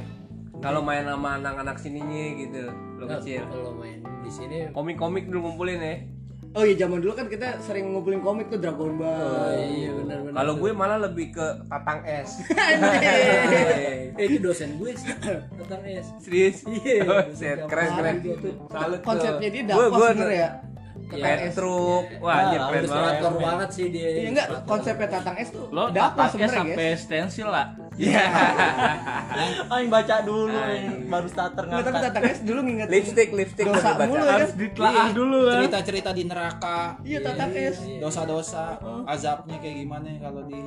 Speaker 6: Kalau main sama anak-anak sininya gitu, lo kecil.
Speaker 7: kalau main di sini
Speaker 6: Komik-komik dulu ngumpulin ya.
Speaker 1: Oh iya zaman dulu kan kita sering ngumpulin komik tuh Dragon Ball.
Speaker 7: iya benar benar
Speaker 6: Kalau gue malah lebih ke tatang es. Iya.
Speaker 7: eh, itu dosen gue sih tentang es
Speaker 6: Serius?
Speaker 7: Iya.
Speaker 6: Oh, set. Keren keren.
Speaker 1: Gitu tuh.
Speaker 6: Salut tuh.
Speaker 1: Konsepnya dia
Speaker 6: Gue-
Speaker 1: dapat
Speaker 6: gue
Speaker 1: sebenernya ya.
Speaker 6: Kayak truk. Wah,
Speaker 7: Iya.
Speaker 6: anjir keren
Speaker 7: Udah
Speaker 6: banget.
Speaker 7: sekolah banget sih dia
Speaker 1: Iya enggak konsepnya Tatang S tuh
Speaker 2: Lo
Speaker 1: dapat
Speaker 2: dapatnya
Speaker 1: sebenarnya
Speaker 2: sampai
Speaker 1: guys.
Speaker 2: stensil lah.
Speaker 6: Iya.
Speaker 5: Aing Ah, baca dulu Aing. baru starter
Speaker 1: Nggak, tapi
Speaker 5: ngangkat.
Speaker 1: Tatang S dulu nginget
Speaker 6: Lipstick, lipstick
Speaker 1: dosa
Speaker 6: baru baca.
Speaker 1: mulu ya.
Speaker 2: Harus ditelaah dulu kan.
Speaker 4: Cerita cerita di neraka.
Speaker 1: Iya Tatang S.
Speaker 4: Dosa-dosa, azabnya kayak gimana kalau di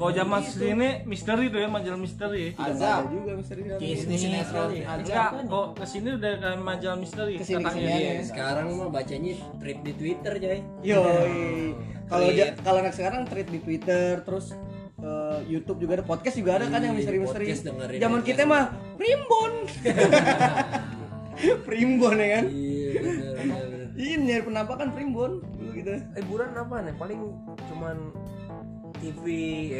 Speaker 2: Kalau zaman sini misteri tuh ya, majalah misteri. ya.
Speaker 1: Ada
Speaker 4: azab.
Speaker 1: juga misteri dalam.
Speaker 4: Ini sinetron azab.
Speaker 2: Enggak, kok kesini udah kayak majalah misteri.
Speaker 1: Kesini kesini
Speaker 2: katanya. Iya.
Speaker 1: aja.
Speaker 7: sekarang mah bacanya trip di Twitter coy
Speaker 1: Yoi. Kalau ja- kalau anak sekarang tweet di Twitter terus eh, YouTube juga ada podcast juga ada kan yang misteri-misteri.
Speaker 7: podcast dengerin
Speaker 1: Zaman
Speaker 7: aja.
Speaker 1: kita mah primbon. primbon ya kan?
Speaker 7: iya benar benar
Speaker 1: Iya nyari penampakan primbon dulu gitu.
Speaker 6: Liburan apa nih? Paling cuman TV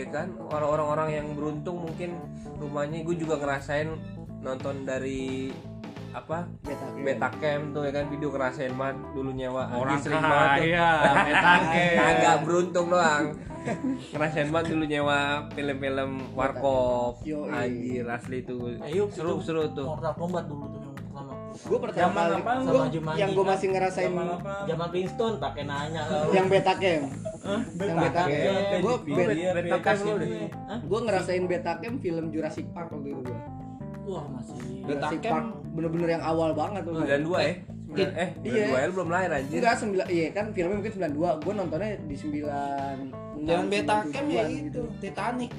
Speaker 6: ya kan orang-orang yang beruntung mungkin rumahnya gue juga ngerasain nonton dari apa
Speaker 1: Beta.
Speaker 6: beta cam tuh ya kan video ngerasain banget dulu nyewa
Speaker 2: Iya. Orang
Speaker 6: Anjing, sering banget tuh.
Speaker 2: kaya, Iya. ya, metake.
Speaker 6: agak beruntung doang ngerasain banget dulu nyewa film-film warkop
Speaker 1: Yoi.
Speaker 6: anjir asli itu
Speaker 5: Ayo,
Speaker 6: seru
Speaker 5: itu
Speaker 6: seru tuh
Speaker 5: Mortal Kombat dulu tuh yang pertama.
Speaker 1: Gue pertama
Speaker 2: Zaman
Speaker 1: kali
Speaker 2: apaan
Speaker 5: lu?
Speaker 1: gua,
Speaker 5: Sama Jumanji
Speaker 1: yang gue
Speaker 5: kan?
Speaker 1: masih ngerasain
Speaker 2: Zaman apa?
Speaker 5: Zaman Princeton pakai nanya lah.
Speaker 1: yang beta cam. Yang beta cam. Gue
Speaker 6: Beta- beta cam lu deh.
Speaker 1: gue ngerasain beta cam film Jurassic Park waktu itu gue.
Speaker 5: Wah, masih.
Speaker 1: Jurassic
Speaker 4: Betacam.
Speaker 1: Iya. Park bener-bener yang awal banget tuh.
Speaker 6: sembilan dua ya Sembilan- eh
Speaker 1: Iya.
Speaker 6: sembilan dua ya lu belum lahir anjir
Speaker 1: Enggak, sembilan, iya kan filmnya mungkin 92 Gue nontonnya di 9
Speaker 4: Dan beta cam ya
Speaker 1: gitu.
Speaker 4: itu Titanic.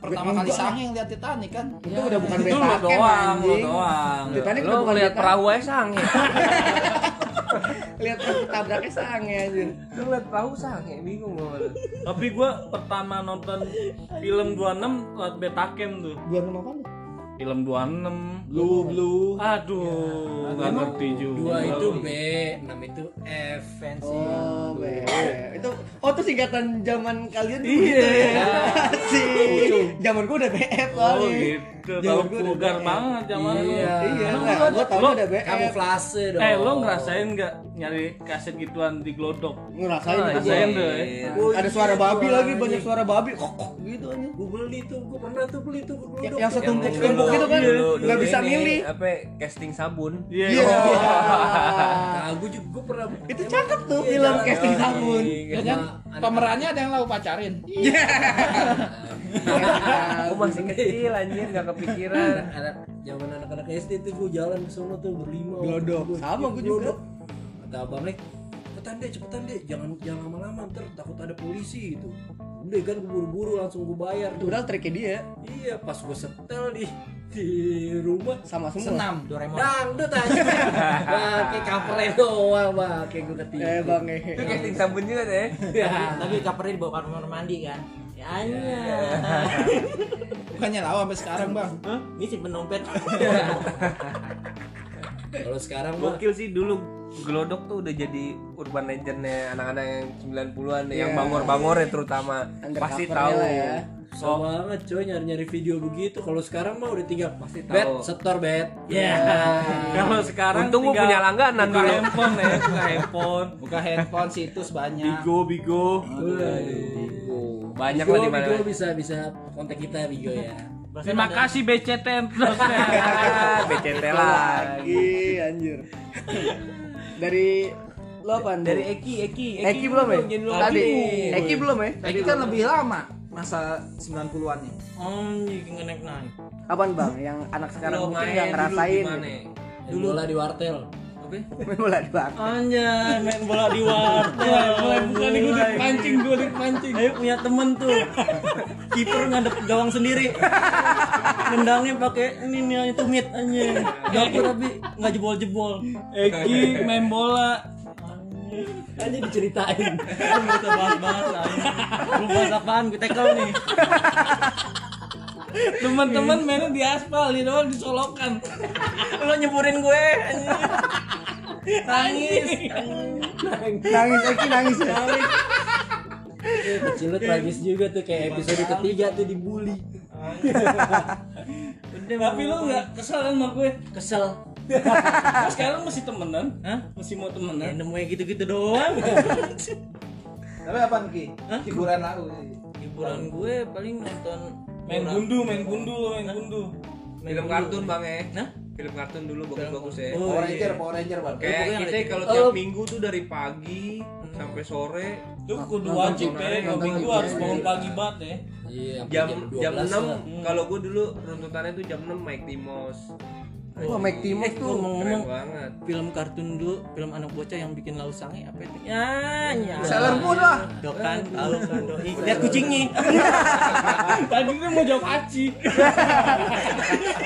Speaker 4: Pertama kali sange lihat Titanic kan.
Speaker 1: Itu udah bukan
Speaker 6: Iya. itu
Speaker 1: beta
Speaker 6: lu
Speaker 1: cam
Speaker 6: doang lu
Speaker 1: anjing
Speaker 6: doang
Speaker 1: Titanic
Speaker 6: lu
Speaker 1: udah bukan
Speaker 6: ngeliat
Speaker 1: beta.
Speaker 6: perahu aja sange
Speaker 1: Lihat kan tabraknya sange anjir
Speaker 6: lu ngeliat perahu sange bingung gua lu
Speaker 2: Tapi gua pertama nonton film 26 lewat Betacam tuh.
Speaker 1: Dua nama apa lu?
Speaker 2: Film 26 Blue Blue. Iya. Aduh, nggak ngerti juga.
Speaker 7: dua itu B enam itu F fancy
Speaker 1: Oh, be. Itu oh itu singkatan zaman kalian dulu gitu ya. Sih. Zaman gue udah BF kali.
Speaker 2: Oh, gitu. ke
Speaker 1: Zaman
Speaker 2: kalau
Speaker 1: gua ada
Speaker 2: vulgar
Speaker 1: BL.
Speaker 2: banget zaman lu.
Speaker 1: Iya, iya.
Speaker 2: Lu
Speaker 1: Nah,
Speaker 2: ada-
Speaker 1: gua tau
Speaker 2: lu-
Speaker 1: ada BF.
Speaker 7: Kamuflase
Speaker 4: ya
Speaker 7: dong.
Speaker 2: Eh, lo ngerasain nggak nyari kaset gituan di Glodok?
Speaker 6: Oh,
Speaker 1: Ngerasain
Speaker 2: Ah,
Speaker 1: gua.
Speaker 2: iya. Ngerasain tuh,
Speaker 7: Gua
Speaker 1: Ada
Speaker 7: iya,
Speaker 1: suara
Speaker 7: gua
Speaker 1: babi lagi,
Speaker 7: anjing.
Speaker 1: banyak suara babi. Kok kok gitu aja.
Speaker 7: Gua beli tuh, gua pernah tuh beli tuh. gua
Speaker 1: Ya-
Speaker 7: duduk.
Speaker 1: yang setumpuk
Speaker 6: dulu-
Speaker 1: tumpuk itu kan
Speaker 6: dulu- dulu
Speaker 1: nggak bisa
Speaker 6: ini,
Speaker 1: milih.
Speaker 6: Apa casting sabun?
Speaker 2: Iya.
Speaker 1: Iya.
Speaker 7: Nah, gua juga gua pernah
Speaker 1: Itu
Speaker 7: emang-
Speaker 1: cakep tuh
Speaker 7: Iya,
Speaker 1: film
Speaker 7: iya,
Speaker 1: casting
Speaker 7: iya.
Speaker 1: sabun.
Speaker 7: Iya,
Speaker 4: kan?
Speaker 7: anak-
Speaker 4: Pemerannya ada yang lau pacarin. Iya,
Speaker 6: Aku masih kecil anjir nggak kepikiran.
Speaker 7: Iya. anak zaman anak-anak SD tuh gua jalan ke sono tuh berlima.
Speaker 1: Glodok. Sama gua juga.
Speaker 7: Glodok. Kata Abang Lek, cepetan deh, cepetan deh, jangan jangan lama-lama ntar takut ada polisi itu. Udah kan gua buru-buru langsung gua bayar tuh.
Speaker 1: Padahal triknya dia
Speaker 7: Iya, pas gua setel di di rumah
Speaker 1: sama semua.
Speaker 4: Senam Doraemon.
Speaker 7: dangdut aja. Wah,
Speaker 5: Ah.
Speaker 7: kayak covernya doang, wah, kayak gua ketipu.
Speaker 1: Eh bang eh.
Speaker 6: Itu casting sabun juga deh.
Speaker 1: ya.
Speaker 5: Tapi covernya dibawa ke kamar mandi kan. Ya anjir.
Speaker 7: Iya.
Speaker 4: Bukannya lau sampai sekarang, Bang.
Speaker 5: Ini simpen dompet.
Speaker 7: Kalau sekarang mah
Speaker 6: Gokil sih dulu Glodok tuh udah jadi urban legendnya anak-anak yang 90-an deh, yang
Speaker 1: Iya.
Speaker 6: bangor-bangor ya terutama pasti
Speaker 1: Undercover-nya
Speaker 6: tahu.
Speaker 1: lah ya.
Speaker 7: susah banget coy nyari-nyari video begitu. Kalau sekarang mah udah tinggal pasti
Speaker 6: tahu.
Speaker 7: bet, setor bet. Iya.
Speaker 5: Ya.
Speaker 2: Kalau sekarang
Speaker 6: Untung gua
Speaker 2: tinggal
Speaker 6: punya langganan
Speaker 2: buka
Speaker 6: dulu.
Speaker 2: handphone ya, buka handphone.
Speaker 4: Buka handphone situs banyak.
Speaker 2: Bigo, bigo.
Speaker 6: Banyak
Speaker 7: Bigo,
Speaker 6: lah di mana.
Speaker 7: Bigo bisa bisa kontak kita Bigo ya.
Speaker 2: Terima kasih BCTN terus
Speaker 6: BCT
Speaker 1: Iya.
Speaker 6: lah.
Speaker 1: Lagi anjir. Dari lo apa?
Speaker 6: Dari Eki, Eki,
Speaker 1: Eki belum ya?
Speaker 6: Jadi lu
Speaker 1: Tadi.
Speaker 6: tadi.
Speaker 1: Eki belum ya?
Speaker 4: Tapi kan lebih lama masa 90-an nih.
Speaker 5: Anjir, ngenek naik.
Speaker 1: Apaan bang? Yang anak sekarang mungkin nggak ngerasain. ya?
Speaker 7: Main bola di wartel.
Speaker 1: Main bola di bang.
Speaker 5: Anjay, main bola di wartel.
Speaker 2: Mulai buka nih gue dipancing, gue dipancing.
Speaker 5: Ayo punya temen tuh. Kiper ngadep gawang sendiri. Nendangnya pakai ini nih tumit anjing. Dapur tapi nggak jebol-jebol.
Speaker 2: Eki main bola. Kan
Speaker 7: Aja diceritain.
Speaker 5: Aduh, kita bahas banget anjing. Lu ya. bahas apaan? Gue tackle nih.
Speaker 2: Teman-teman mainnya di aspal, di doang disolokan.
Speaker 5: Lu nyeburin gue anjing. Nangis.
Speaker 1: Nangis Eki nangis ya.
Speaker 7: Kecil lu tragis juga tuh kayak episode ketiga tuh dibully.
Speaker 2: Tapi lu nggak kesel kan sama gue?
Speaker 5: Kesel.
Speaker 2: Terus Sekarang masih temenan? Hah? Masih mau
Speaker 5: Ya
Speaker 2: temenan?
Speaker 5: nemunya gitu-gitu doang.
Speaker 4: Tapi apaan Ki? Hiburan lau.
Speaker 5: Hiburan gue paling nonton
Speaker 2: Main
Speaker 5: bola.
Speaker 2: gundu, main gundu, main gundu.
Speaker 5: Main
Speaker 6: Film
Speaker 5: gundu.
Speaker 6: kartun Bang eh.
Speaker 5: Nah?
Speaker 6: Film kartun kan dulu bagus-bagus ya.
Speaker 5: Oh,
Speaker 4: Power
Speaker 5: iya.
Speaker 4: Ranger, Power Ranger, Bang.
Speaker 5: pokoknya
Speaker 6: Kayak kita
Speaker 5: ada-
Speaker 6: kalau tiap minggu tuh dari pagi sampai sore
Speaker 2: Lu kudu wajib ya,
Speaker 6: nonton aja,
Speaker 2: kalau
Speaker 6: nonton
Speaker 2: minggu
Speaker 6: aja.
Speaker 2: harus bangun pagi banget ya.
Speaker 7: Iya, sampai
Speaker 6: jam jam
Speaker 7: 12 lah.
Speaker 6: 6 kalau gue dulu runtutannya tuh jam 6 Mike Timos. Eh,
Speaker 1: Wah, Mike Timos tuh
Speaker 6: Keren
Speaker 5: Ngomong-ngomong
Speaker 6: banget.
Speaker 5: film kartun dulu, film anak bocah yang bikin lausangi apa itu? Ya, ya.
Speaker 4: Sailor Moon lah.
Speaker 5: Dokan, tahu kan doi. Lihat kucingnya.
Speaker 2: Tadi tuh mau jawab aci.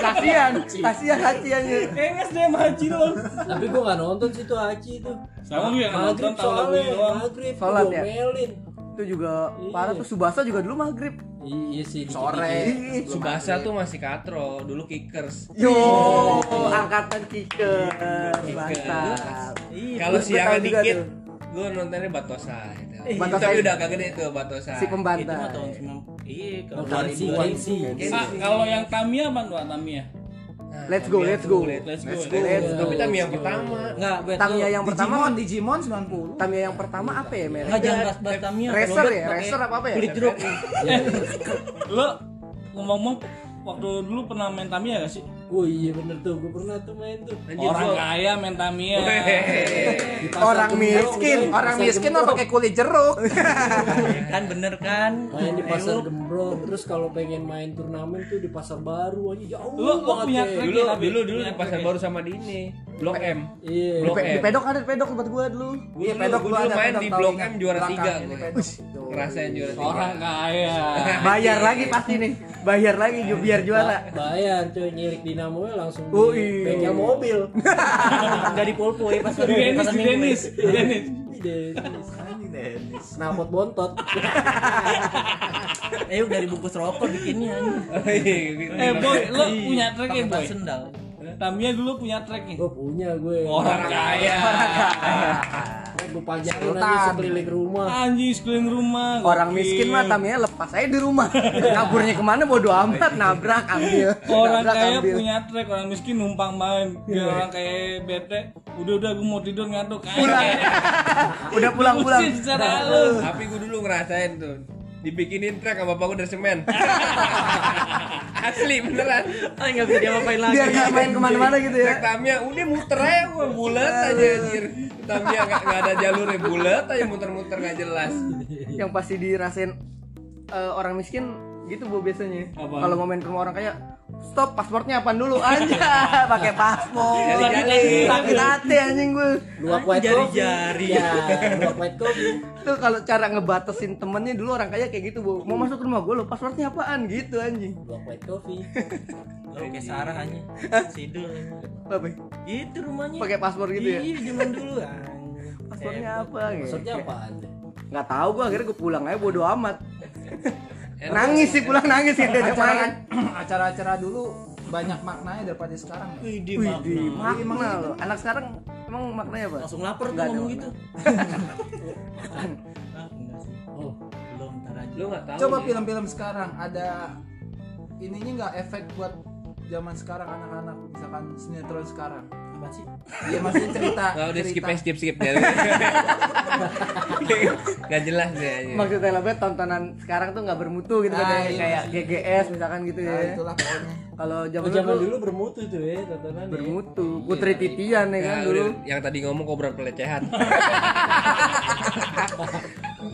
Speaker 1: kasihan, kasihan hati anjir.
Speaker 2: Enges deh sama aci doang.
Speaker 7: Tapi gua nggak nonton sih tuh Aci tuh.
Speaker 2: Sama lu yang nonton
Speaker 7: Maghrib
Speaker 2: tahu lagu
Speaker 7: soalnya,
Speaker 2: doang.
Speaker 7: maghrib
Speaker 1: Sholat ya?
Speaker 7: diomelin.
Speaker 1: Itu juga parah tuh Subasa juga dulu maghrib.
Speaker 7: Iya sih. dikit-dikit.
Speaker 4: Sore.
Speaker 1: Ih,
Speaker 6: Subasa tuh masih katro, dulu kickers.
Speaker 4: Iya,
Speaker 1: Yo, angkatan kicker. Mantap.
Speaker 6: Kalau
Speaker 1: Gua- gua
Speaker 6: siangnya
Speaker 1: tahu juga
Speaker 6: dikit,
Speaker 1: tuh. Eh,
Speaker 6: gue nontonnya Batosa gitu.
Speaker 1: Batosa
Speaker 6: Tapi
Speaker 1: itu.
Speaker 6: udah agak gede tuh
Speaker 1: Si
Speaker 5: Itu
Speaker 6: Batosa.
Speaker 5: mah tahun
Speaker 1: pembantai.
Speaker 5: 90. Iya, kalau
Speaker 7: Bukan sih,
Speaker 5: 2000-an.
Speaker 7: sih.
Speaker 6: Iya
Speaker 2: Nah, kalau yang Tamiya apaan tuh Tamiya?
Speaker 6: Nah,
Speaker 1: Let's go,
Speaker 6: Tamiya
Speaker 1: let's go.
Speaker 6: tuh, let-
Speaker 2: Let's go. Let's
Speaker 1: go. Let's go.
Speaker 6: Tapi Tamiya pertama.
Speaker 5: Enggak, bet.
Speaker 4: Iya,
Speaker 1: Tamiya yang pertama,
Speaker 4: Digimon, kan Digimon 90.
Speaker 1: Tamiya yang pertama apa ya, men?
Speaker 5: enggak jangan bahas-bahas Tamiya. kalau
Speaker 1: Racer
Speaker 5: bet
Speaker 1: ya?
Speaker 5: pakai
Speaker 1: Racer apa apa ya?
Speaker 5: Kulit jeruk.
Speaker 2: Lu ngomong-ngomong waktu dulu pernah main Tamiya gak sih?
Speaker 7: Oh iya bener tuh, gua pernah tuh main tuh.
Speaker 6: Anjir,
Speaker 2: Orang
Speaker 6: gua-
Speaker 2: kaya main Tamiya.
Speaker 7: Di pasar
Speaker 1: Eh, Orang
Speaker 7: Gembrong,
Speaker 1: miskin,
Speaker 7: coy.
Speaker 1: orang
Speaker 7: Pasar
Speaker 1: miskin mah pakai kulit jeruk.
Speaker 6: Iya
Speaker 5: Kan bener kan?
Speaker 7: main di
Speaker 5: Eh,
Speaker 7: pasar
Speaker 5: lu
Speaker 7: gembrong terus kalau pengen main turnamen tuh di pasar baru aja jauh
Speaker 2: Lu- lu
Speaker 7: banget
Speaker 2: punya
Speaker 7: ya.
Speaker 2: trik?
Speaker 6: dulu dulu dulu di pasar baru
Speaker 2: ya?
Speaker 6: sama di ini Blok M.
Speaker 7: iya
Speaker 1: Di
Speaker 6: Blok
Speaker 1: pe- di
Speaker 6: M.
Speaker 1: pedok ada di pedok tempat gua dulu.
Speaker 6: Gue dulu, gua dulu main di Blok M juara 3 gue. Ngerasain juara 3.
Speaker 2: Orang kaya.
Speaker 1: Bayar lagi pasti nih. Bayar lagi ju- biar juara.
Speaker 7: Ba- bayar coy nyirik dinamo ya langsung di
Speaker 1: Oh, iya.
Speaker 7: bengkel mobil
Speaker 5: dari Polpo ya pas
Speaker 2: Di Dennis,
Speaker 5: pas
Speaker 2: di
Speaker 5: minggu.
Speaker 2: Dennis, di Dennis.
Speaker 7: Ih, Dennis. Snapot bontot
Speaker 5: Eh, dari bungkus rokok bikinnya.
Speaker 2: Eh boy, lu punya track ya
Speaker 5: Pakai
Speaker 2: boy?
Speaker 5: ban sendal.
Speaker 2: ya? Tamiya dulu punya track nih.
Speaker 7: gue punya gue
Speaker 2: Orang kaya.
Speaker 1: Gua
Speaker 7: lu pajangin aja
Speaker 4: Sultan.
Speaker 7: sekeliling rumah
Speaker 2: Anjing sekeliling rumah.
Speaker 1: Orang
Speaker 2: gokil.
Speaker 1: miskin mah tamnya lepas aja di rumah. Kaburnya kemana bodo amat, nabrak ambil.
Speaker 2: Orang
Speaker 1: Nabrak,
Speaker 2: kaya
Speaker 1: ambil. Iya.
Speaker 2: punya trek, orang miskin numpang main. Biar orang kaya bete, udah udah gue mau tidur ngantuk. Eh,
Speaker 1: Udah pulang-pulang.
Speaker 2: Pusing secara halus.
Speaker 6: Tapi gue dulu ngerasain tuh dibikinin trek sama bapak gue dari semen. Asli beneran.
Speaker 5: Ah, nggak bisa diapa-apain lagi.
Speaker 1: Biar nggak main kemana-mana gitu ya.
Speaker 6: Trek Tamiya udah muter aja gue bulat aja anjir. Tamiya gak, ada jalurnya bulat aja muter-muter gak jelas.
Speaker 1: Yang
Speaker 5: Iya.
Speaker 1: pasti dirasain eh, orang miskin gitu bu biasanya.
Speaker 2: Apa?
Speaker 1: Kalau mau main ke rumah orang kaya, stop pasportnya apaan dulu aja pakai paspor
Speaker 2: Jali-jali.
Speaker 1: sakit hati anjing gue
Speaker 7: dua kuat kopi
Speaker 5: Jari-jari.
Speaker 7: ya dua kuat kopi
Speaker 1: tuh kalau cara ngebatasin temennya dulu orang kaya kayak gitu bu mau masuk rumah gue lo pasportnya apaan gitu anjing
Speaker 7: dua kuat kopi
Speaker 1: Iya.
Speaker 5: Lu kayak Sarah aja. Sidul.
Speaker 1: apa ya?
Speaker 5: Itu rumahnya.
Speaker 1: pakai paspor gitu ya
Speaker 5: Iya, zaman dulu. ah.
Speaker 1: paspornya
Speaker 5: Eh,
Speaker 1: apa gitu
Speaker 7: maksudnya apaan tuh?
Speaker 1: nggak tahu gue akhirnya gue pulang aja bodo amat
Speaker 5: Eh,
Speaker 1: nangis sih pulang nangis gitu aja
Speaker 5: kan?
Speaker 1: main
Speaker 4: acara-acara dulu banyak maknanya daripada sekarang ya.
Speaker 5: Wih, di
Speaker 1: wih di
Speaker 5: makna.
Speaker 1: makna lo anak sekarang emang maknanya apa
Speaker 5: Langsung lapar tuh
Speaker 1: Nggak ada
Speaker 5: ngomong
Speaker 1: warna.
Speaker 5: gitu. Ah, enggak sih. Oh, belum ntar aja.
Speaker 6: Lu gak tahu.
Speaker 4: coba
Speaker 6: Ji.
Speaker 4: film-film sekarang ada ininya nggak efek buat zaman sekarang anak-anak misalkan sinetron sekarang
Speaker 5: Apa sih?
Speaker 4: dia masih cerita
Speaker 6: Nggak, udah Oh, skip
Speaker 4: cerita
Speaker 6: aja, skip skip deh. gak jelas deh anjir.
Speaker 1: maksudnya lebih tontonan sekarang tuh nggak bermutu gitu kan
Speaker 4: Ah,
Speaker 1: ya.
Speaker 4: iya,
Speaker 1: kayak GGS misalkan gitu
Speaker 5: Ah,
Speaker 4: nah,
Speaker 1: ya
Speaker 4: itulah pokoknya
Speaker 1: kalau
Speaker 7: Oh,
Speaker 1: zaman
Speaker 7: zaman
Speaker 1: dulu
Speaker 7: dulu bermutu tuh ya tontonan ya.
Speaker 1: bermutu putri titian ya kan
Speaker 6: Nah,
Speaker 1: dulu
Speaker 6: udah, yang tadi ngomong kobra pelecehan.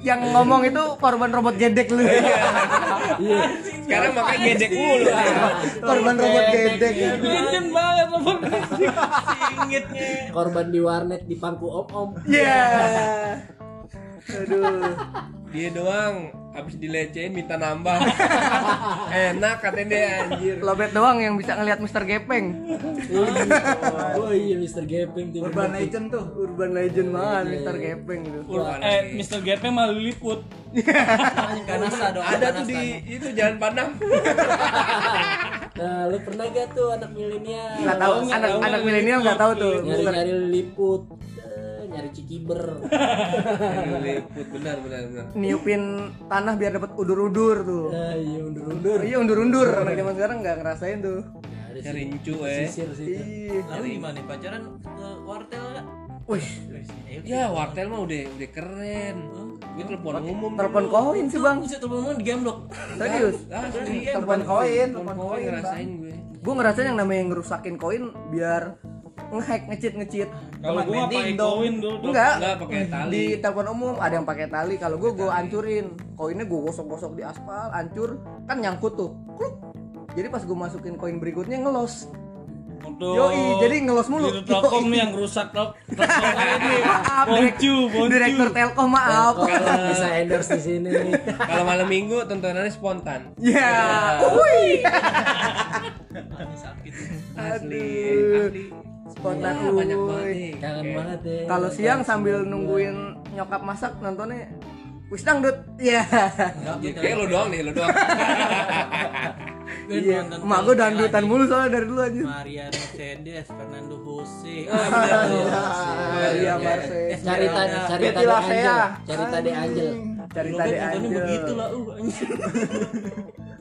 Speaker 1: yang ngomong itu korban robot gedek lu
Speaker 6: Sekarang makanya gedek mulu.
Speaker 1: Iya. korban robot gedek
Speaker 2: Legend banget robot miskin.
Speaker 5: Singitnya.
Speaker 7: korban di warnet di pangku om om
Speaker 1: ya aduh
Speaker 6: Dia doang habis dilecehin minta nambah. Enak katanya dia anjir.
Speaker 1: lobet doang yang bisa ngelihat Mister Gepeng
Speaker 7: oh iya Mr. Gepeng tuh
Speaker 4: urban
Speaker 7: bermutu.
Speaker 4: legend tuh
Speaker 1: urban legend banget Mister Gepeng gitu
Speaker 2: Eh, Mr. Gepeng malah liput.
Speaker 5: Kanasa dong.
Speaker 1: Iya.
Speaker 6: Ada tuh di itu Jalan Padang.
Speaker 7: nah lu pernah gak tuh anak milenial
Speaker 1: nggak tahu anak anak milenial nggak tahu tuh
Speaker 7: nyari nyari liput eh, nyari cikiber
Speaker 6: Liput benar benar benar.
Speaker 1: niupin tanah biar dapat udur-udur tuh
Speaker 7: Eh, iya undur undur
Speaker 1: iya undur-undur anak zaman sekarang nggak ngerasain tuh
Speaker 6: Kerincu eh.
Speaker 7: sisir situ
Speaker 1: Ih.
Speaker 5: Lalu gimana nih pacaran ke wartel enggak?
Speaker 1: Wih,
Speaker 5: Eh,
Speaker 6: Ya wartel mah udah udah keren. Gue telepon umum.
Speaker 1: telepon koin sih bang,
Speaker 5: Bisa telepon di gamblok.
Speaker 1: serius.
Speaker 6: Asli.
Speaker 4: telepon koin telepon
Speaker 6: Telepon
Speaker 4: koin
Speaker 6: koin ngerasain gue.
Speaker 1: Gue ngerasain yang namanya ngerusakin koin biar ngehack ngecit ngecit.
Speaker 2: Kalau gua pakai koin dulu.
Speaker 6: Enggak
Speaker 1: Enggak,
Speaker 6: pakai tali.
Speaker 1: di telepon umum ada yang pakai tali. Kalau gue gue ancurin, koinnya gue gosok-gosok di aspal, ancur, kan nyangkut tuh. Kluk. Jadi pas gue masukin koin berikutnya ngelos.
Speaker 2: Untuk
Speaker 1: Yoi, jadi ngelos mulu.
Speaker 2: Oh. Di ya. Telkom
Speaker 1: Yoi.
Speaker 2: nih yang rusak top. Telkom ini.
Speaker 1: Maaf,
Speaker 2: Boncu,
Speaker 1: direk-
Speaker 2: boncu.
Speaker 1: direktur Telkom maaf.
Speaker 7: bisa endorse di sini
Speaker 6: Kalau malam minggu tontonannya spontan.
Speaker 1: Ya, wuih.
Speaker 5: Ini sakit.
Speaker 6: Asli. Asli.
Speaker 1: Eh, Spontan
Speaker 6: Wah, banyak banget
Speaker 1: wuih.
Speaker 6: nih.
Speaker 7: kangen banget ya
Speaker 1: Kalau siang sambil nungguin nyokap masak nontonnya Wis dangdut. Iya.
Speaker 6: Kayak lo doang nih, lo doang.
Speaker 5: Gue
Speaker 1: Iya.
Speaker 5: nonton
Speaker 1: Emak gue
Speaker 5: film
Speaker 1: dangdutan
Speaker 5: lagi. Ah,
Speaker 1: mulu soalnya dari dulu aja.
Speaker 5: Mariano Mercedes, Fernando Jose.
Speaker 1: Iya, Marcel.
Speaker 7: cerita cerita
Speaker 4: Betty
Speaker 7: de
Speaker 4: Lavea.
Speaker 7: Angel cerita de Angel
Speaker 1: Cari
Speaker 5: Lo
Speaker 1: tadi
Speaker 5: kan
Speaker 1: aja.
Speaker 5: nontonnya begitu lah, uh anjir.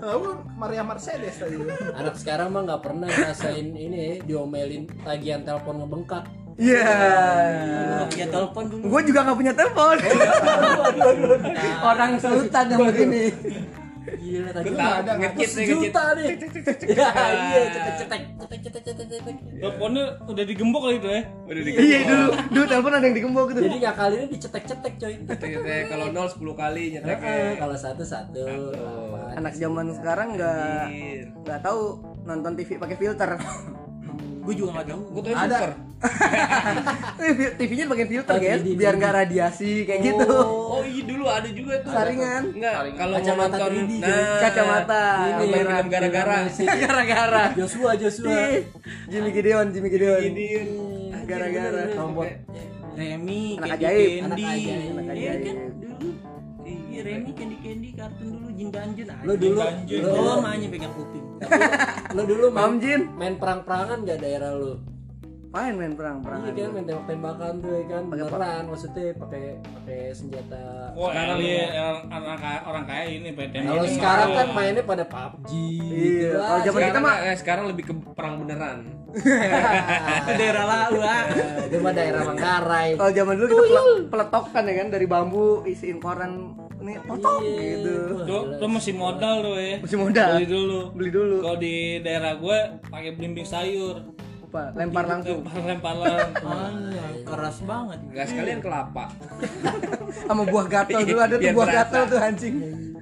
Speaker 4: lalu Maria Mercedes tadi
Speaker 7: anak sekarang mah nggak pernah ngerasain ini ya, diomelin tagihan telepon ngebengkak
Speaker 1: Iya.
Speaker 5: Ya telepon dulu.
Speaker 1: Gue juga nggak punya telepon. Orang sultan yang begini.
Speaker 7: gila
Speaker 6: Gue
Speaker 7: tagihan
Speaker 6: tahu
Speaker 4: ada, nggak
Speaker 6: ngekit nih ngekit.
Speaker 7: juta nih Ya,
Speaker 5: Nah.
Speaker 7: iya cetek cetek cetek cetek cetek cetek
Speaker 2: Teleponnya udah digembok kali itu ya.
Speaker 6: Udah dikit.
Speaker 1: Iya dulu, dulu telepon ada yang digembok gitu.
Speaker 7: jadi nggak kali ini dicetek-cetek coy
Speaker 4: Eh,
Speaker 6: Nyetek, kalau nol 10 kali nyetek.
Speaker 7: Heeh, kalau satu satu delapan.
Speaker 1: Anak zaman sekarang nggak nggak tahu nonton TV pakai filter.
Speaker 5: Gue juga nggak tahu.
Speaker 6: Gue tuh super.
Speaker 1: Eh, TV-nya pakai filter
Speaker 7: Oh,
Speaker 1: guys,
Speaker 7: jadi-
Speaker 1: biar nggak radiasi kayak gitu.
Speaker 6: Oh iya dulu ada juga tuh.
Speaker 1: Saringan.
Speaker 6: Enggak, kalau mau
Speaker 7: Kacamata
Speaker 6: nonton
Speaker 7: 3D,
Speaker 6: nah,
Speaker 1: Eh, Kacamata
Speaker 6: Ini
Speaker 1: yang merah.
Speaker 6: film gara-gara.
Speaker 1: Gara-gara.
Speaker 7: Joshua Joshua Iya,
Speaker 1: Ih, Jimmy Gideon, Jimmy Gideon. Gara-gara.
Speaker 7: robot
Speaker 5: Remy,
Speaker 1: Anak
Speaker 5: Candy
Speaker 1: ajaib.
Speaker 5: Candy.
Speaker 7: iya, Anak ajaib,
Speaker 1: anak
Speaker 5: Iya
Speaker 1: ajaib.
Speaker 5: kan dulu. Iya Remy, Candy Candy, kartun dulu Jin Danjen aja.
Speaker 7: Lu dulu-
Speaker 5: Danjen.
Speaker 7: lu-
Speaker 5: Lo mah hanya pegang kuping.
Speaker 7: lu dulu main,
Speaker 1: Om Jin.
Speaker 7: main perang-perangan gak daerah lu
Speaker 1: Main main perang perang.
Speaker 6: Iya kan main tembak-tembakan tuh ya kan
Speaker 1: Pakai apa?
Speaker 6: beneran maksudnya pakai pakai senjata.
Speaker 2: Wah, iya, orang kaya, orang kaya ini PT.
Speaker 6: Kalau sekarang kan mainnya pada PUBG.
Speaker 1: Iya, kalau zaman kita mah
Speaker 4: eh, sekarang lebih ke perang beneran.
Speaker 5: Itu daerah lau ah.
Speaker 6: dia mah daerah Manggarai.
Speaker 1: kalau zaman dulu kita pele- peletokan ya kan dari bambu isiin koran ini potong gitu.
Speaker 2: Tuh, tuh masih modal tuh ya.
Speaker 1: Masih modal.
Speaker 2: Beli dulu.
Speaker 1: Beli dulu.
Speaker 2: Kalau di daerah gue pakai belimbing sayur.
Speaker 1: Apa? Lempar langsung
Speaker 2: Lempar lempar.
Speaker 5: Alah, keras banget.
Speaker 4: Enggak sekalian kelapa.
Speaker 1: sama buah gatel dulu ada tuh
Speaker 4: Biar
Speaker 1: buah
Speaker 4: terasa.
Speaker 1: gatel tuh anjing.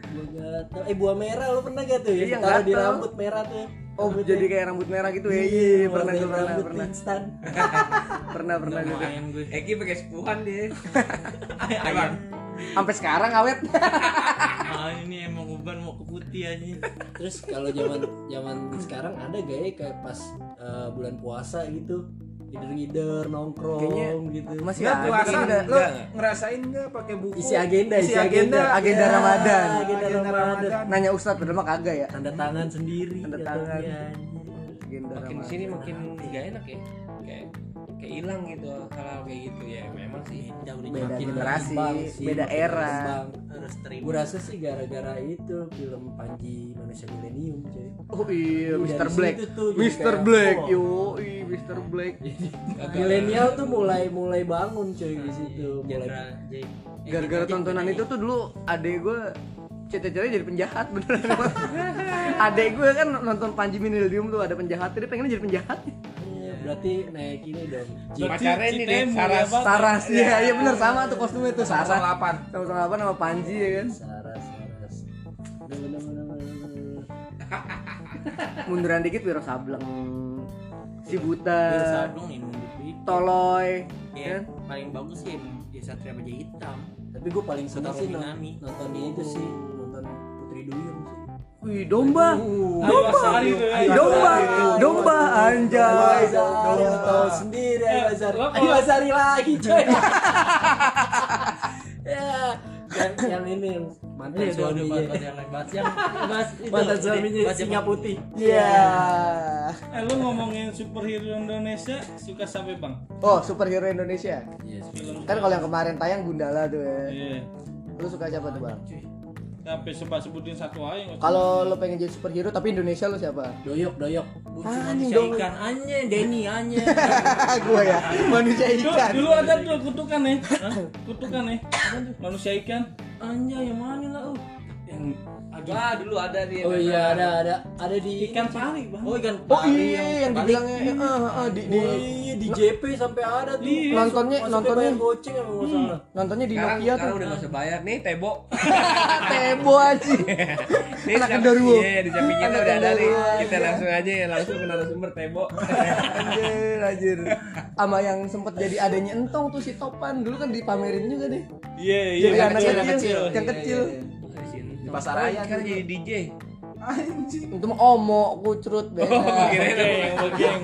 Speaker 6: Buah gatel. Eh buah merah lu pernah gak tuh ya?
Speaker 1: Iya,
Speaker 6: Taruh di
Speaker 1: gatel.
Speaker 6: rambut merah tuh.
Speaker 1: Oh, jadi kayak rambut merah gitu ya. Iya,
Speaker 6: Iya,
Speaker 1: pernah
Speaker 6: warnain
Speaker 1: gue pernah
Speaker 6: rambut
Speaker 1: pernah.
Speaker 6: instan.
Speaker 1: Pernah pernah gitu.
Speaker 5: Main gue.
Speaker 4: Eki pakai sepuhan dia.
Speaker 1: Sampai sekarang awet.
Speaker 5: Ah ini emang uban mau ke putih aja.
Speaker 6: Terus kalau zaman zaman sekarang ada gak ya kayak pas eh, bulan puasa gitu ngider-ngider nongkrong
Speaker 1: Kayaknya
Speaker 6: gitu.
Speaker 1: Masih
Speaker 9: Enggak
Speaker 1: ada.
Speaker 9: puasa
Speaker 1: ada.
Speaker 9: lo ngerasain enggak pakai buku?
Speaker 6: isi agenda,
Speaker 9: Isi agenda.
Speaker 1: Agenda
Speaker 6: Ya,
Speaker 1: Ramadan.
Speaker 6: agenda,
Speaker 9: Agenda
Speaker 6: Ramadan.
Speaker 9: Ramadan.
Speaker 1: Nanya Ustadz padahal mah kagak ya.
Speaker 6: Tanda tangan sendiri. ya
Speaker 1: Tanda
Speaker 6: jatuhnya,
Speaker 1: tangan.
Speaker 6: anjing.
Speaker 1: Agenda
Speaker 4: Makin
Speaker 1: Ramadan.
Speaker 4: sini makin gak enak ya. Kayak kayak hilang gitu hal-hal kayak gitu ya memang sih.
Speaker 5: Udah udah
Speaker 1: Beda
Speaker 5: makin
Speaker 1: generasi,
Speaker 6: berkembang sih,
Speaker 1: beda
Speaker 6: makin
Speaker 1: era.
Speaker 6: berkembang.
Speaker 5: harus terima.
Speaker 6: Gue rasa sih gara-gara itu film Panji Manusia Milenium cuy.
Speaker 1: Oh iya,
Speaker 6: Dari
Speaker 1: Mr.
Speaker 6: situ
Speaker 1: Black.
Speaker 6: tuh jadi
Speaker 1: Mr.
Speaker 6: kayak,
Speaker 1: Black.
Speaker 6: oh.
Speaker 1: Yo, Mr. Black.
Speaker 6: Milenial tuh mulai mulai bangun cuy di situ, mulai
Speaker 5: Jenderal J-
Speaker 1: Gara-gara
Speaker 6: gitu,
Speaker 1: tontonan itu tuh dulu adek gue cita-citanya jadi penjahat beneran adek gue kan nonton Panji Minilium tuh ada penjahat dia pengennya jadi penjahat
Speaker 6: Iya, berarti naik ini dong.
Speaker 4: Pacarnya ini deh, Saras.
Speaker 1: Saras iya iya bener sama tuh kostumnya tuh Saras sama
Speaker 9: Delapan.
Speaker 1: sama apa nama Panji ya kan
Speaker 6: Saras, saras. Bener, bener, bener, bener.
Speaker 1: munduran dikit Wiro Sableng si Buta
Speaker 5: Sableng ini menurut gue itu.
Speaker 1: Toloy kan
Speaker 5: Ya, paling bagus sih ya Satria Baja Hitam.
Speaker 6: Tapi gue paling seneng
Speaker 5: Atau
Speaker 6: sih nonton,
Speaker 5: Minami.
Speaker 6: nonton itu sih, nonton Putri Duyung sih.
Speaker 1: wih domba
Speaker 2: Ayo Lestari tuh ya.
Speaker 1: domba domba anjay
Speaker 6: Ayo tahu sendiri Ayu Azari.
Speaker 2: lo-
Speaker 6: Ayu Azari lagi coy. ya, yang, yang ini yang mantan
Speaker 5: Iya, udah udah
Speaker 6: suaminya.
Speaker 5: bahas yang lain bahas yang bahas itu.
Speaker 6: Mantan suaminya
Speaker 5: Bahas yang
Speaker 6: singa
Speaker 5: putih.
Speaker 6: putih.
Speaker 1: iya
Speaker 2: Eh, lu ngomongin superhero Indonesia suka sampai bang?
Speaker 1: oh superhero Indonesia kan kalau yang kemarin tayang Gundala tuh ya
Speaker 2: Iya.
Speaker 1: lu suka siapa tuh bang
Speaker 2: Tapi coba sebutin satu aja. nggak usah.
Speaker 1: kalau lu pengen jadi superhero tapi Indonesia lu siapa
Speaker 6: Doyok, doyok.
Speaker 5: Bu, cuma manusia ikan anjing, Denny anjing.
Speaker 1: gue ya manusia
Speaker 2: Dulu,
Speaker 1: ikan
Speaker 2: dulu ada tuh kutukan nih, Hah? kutukan nih, manusia ikan,
Speaker 5: Anjay, yang mana lah uh.
Speaker 2: yang aduh
Speaker 4: Wah, dulu ada dia.
Speaker 6: Oh iya ada ada ada di
Speaker 2: ikan pari bang.
Speaker 5: Oh, ikan
Speaker 1: oh
Speaker 5: pari
Speaker 1: iya yang dibilangnya eh, eh, eh, di, di
Speaker 6: Oh, iya di JP sampai ada tuh.
Speaker 2: Iya.
Speaker 1: Nontonnya-
Speaker 6: Masuknya
Speaker 1: nontonnya- Hmm,
Speaker 6: bayar goceng apa nggak salah.
Speaker 1: nontonnya di
Speaker 4: Sekarang,
Speaker 1: Nokia
Speaker 4: sekarang
Speaker 1: tuh
Speaker 4: udah gak usah bayar nih tebo.
Speaker 1: tebo aja
Speaker 4: Nih,
Speaker 1: Anak
Speaker 4: siap-
Speaker 1: Genderuwo.
Speaker 4: Iya, di samping kita
Speaker 1: Anak
Speaker 4: udah ada nih.
Speaker 1: Genderuwo.
Speaker 4: Kita langsung aja ya, langsung ke narasumber tebo.
Speaker 1: anjir anjir sama yang sempet jadi adanya entong tuh si Topan dulu kan dipamerin juga deh
Speaker 2: Iya iya.
Speaker 1: jadi anak
Speaker 9: kecil,
Speaker 1: kecil,
Speaker 9: anak kecil.
Speaker 1: yang kecil
Speaker 4: Iya,
Speaker 9: Di pasar raya
Speaker 4: Sekarang jadi DJ.
Speaker 1: itu mah omo kucrut
Speaker 4: Oh,
Speaker 1: beda
Speaker 4: kirain apa?
Speaker 2: Yang bagian.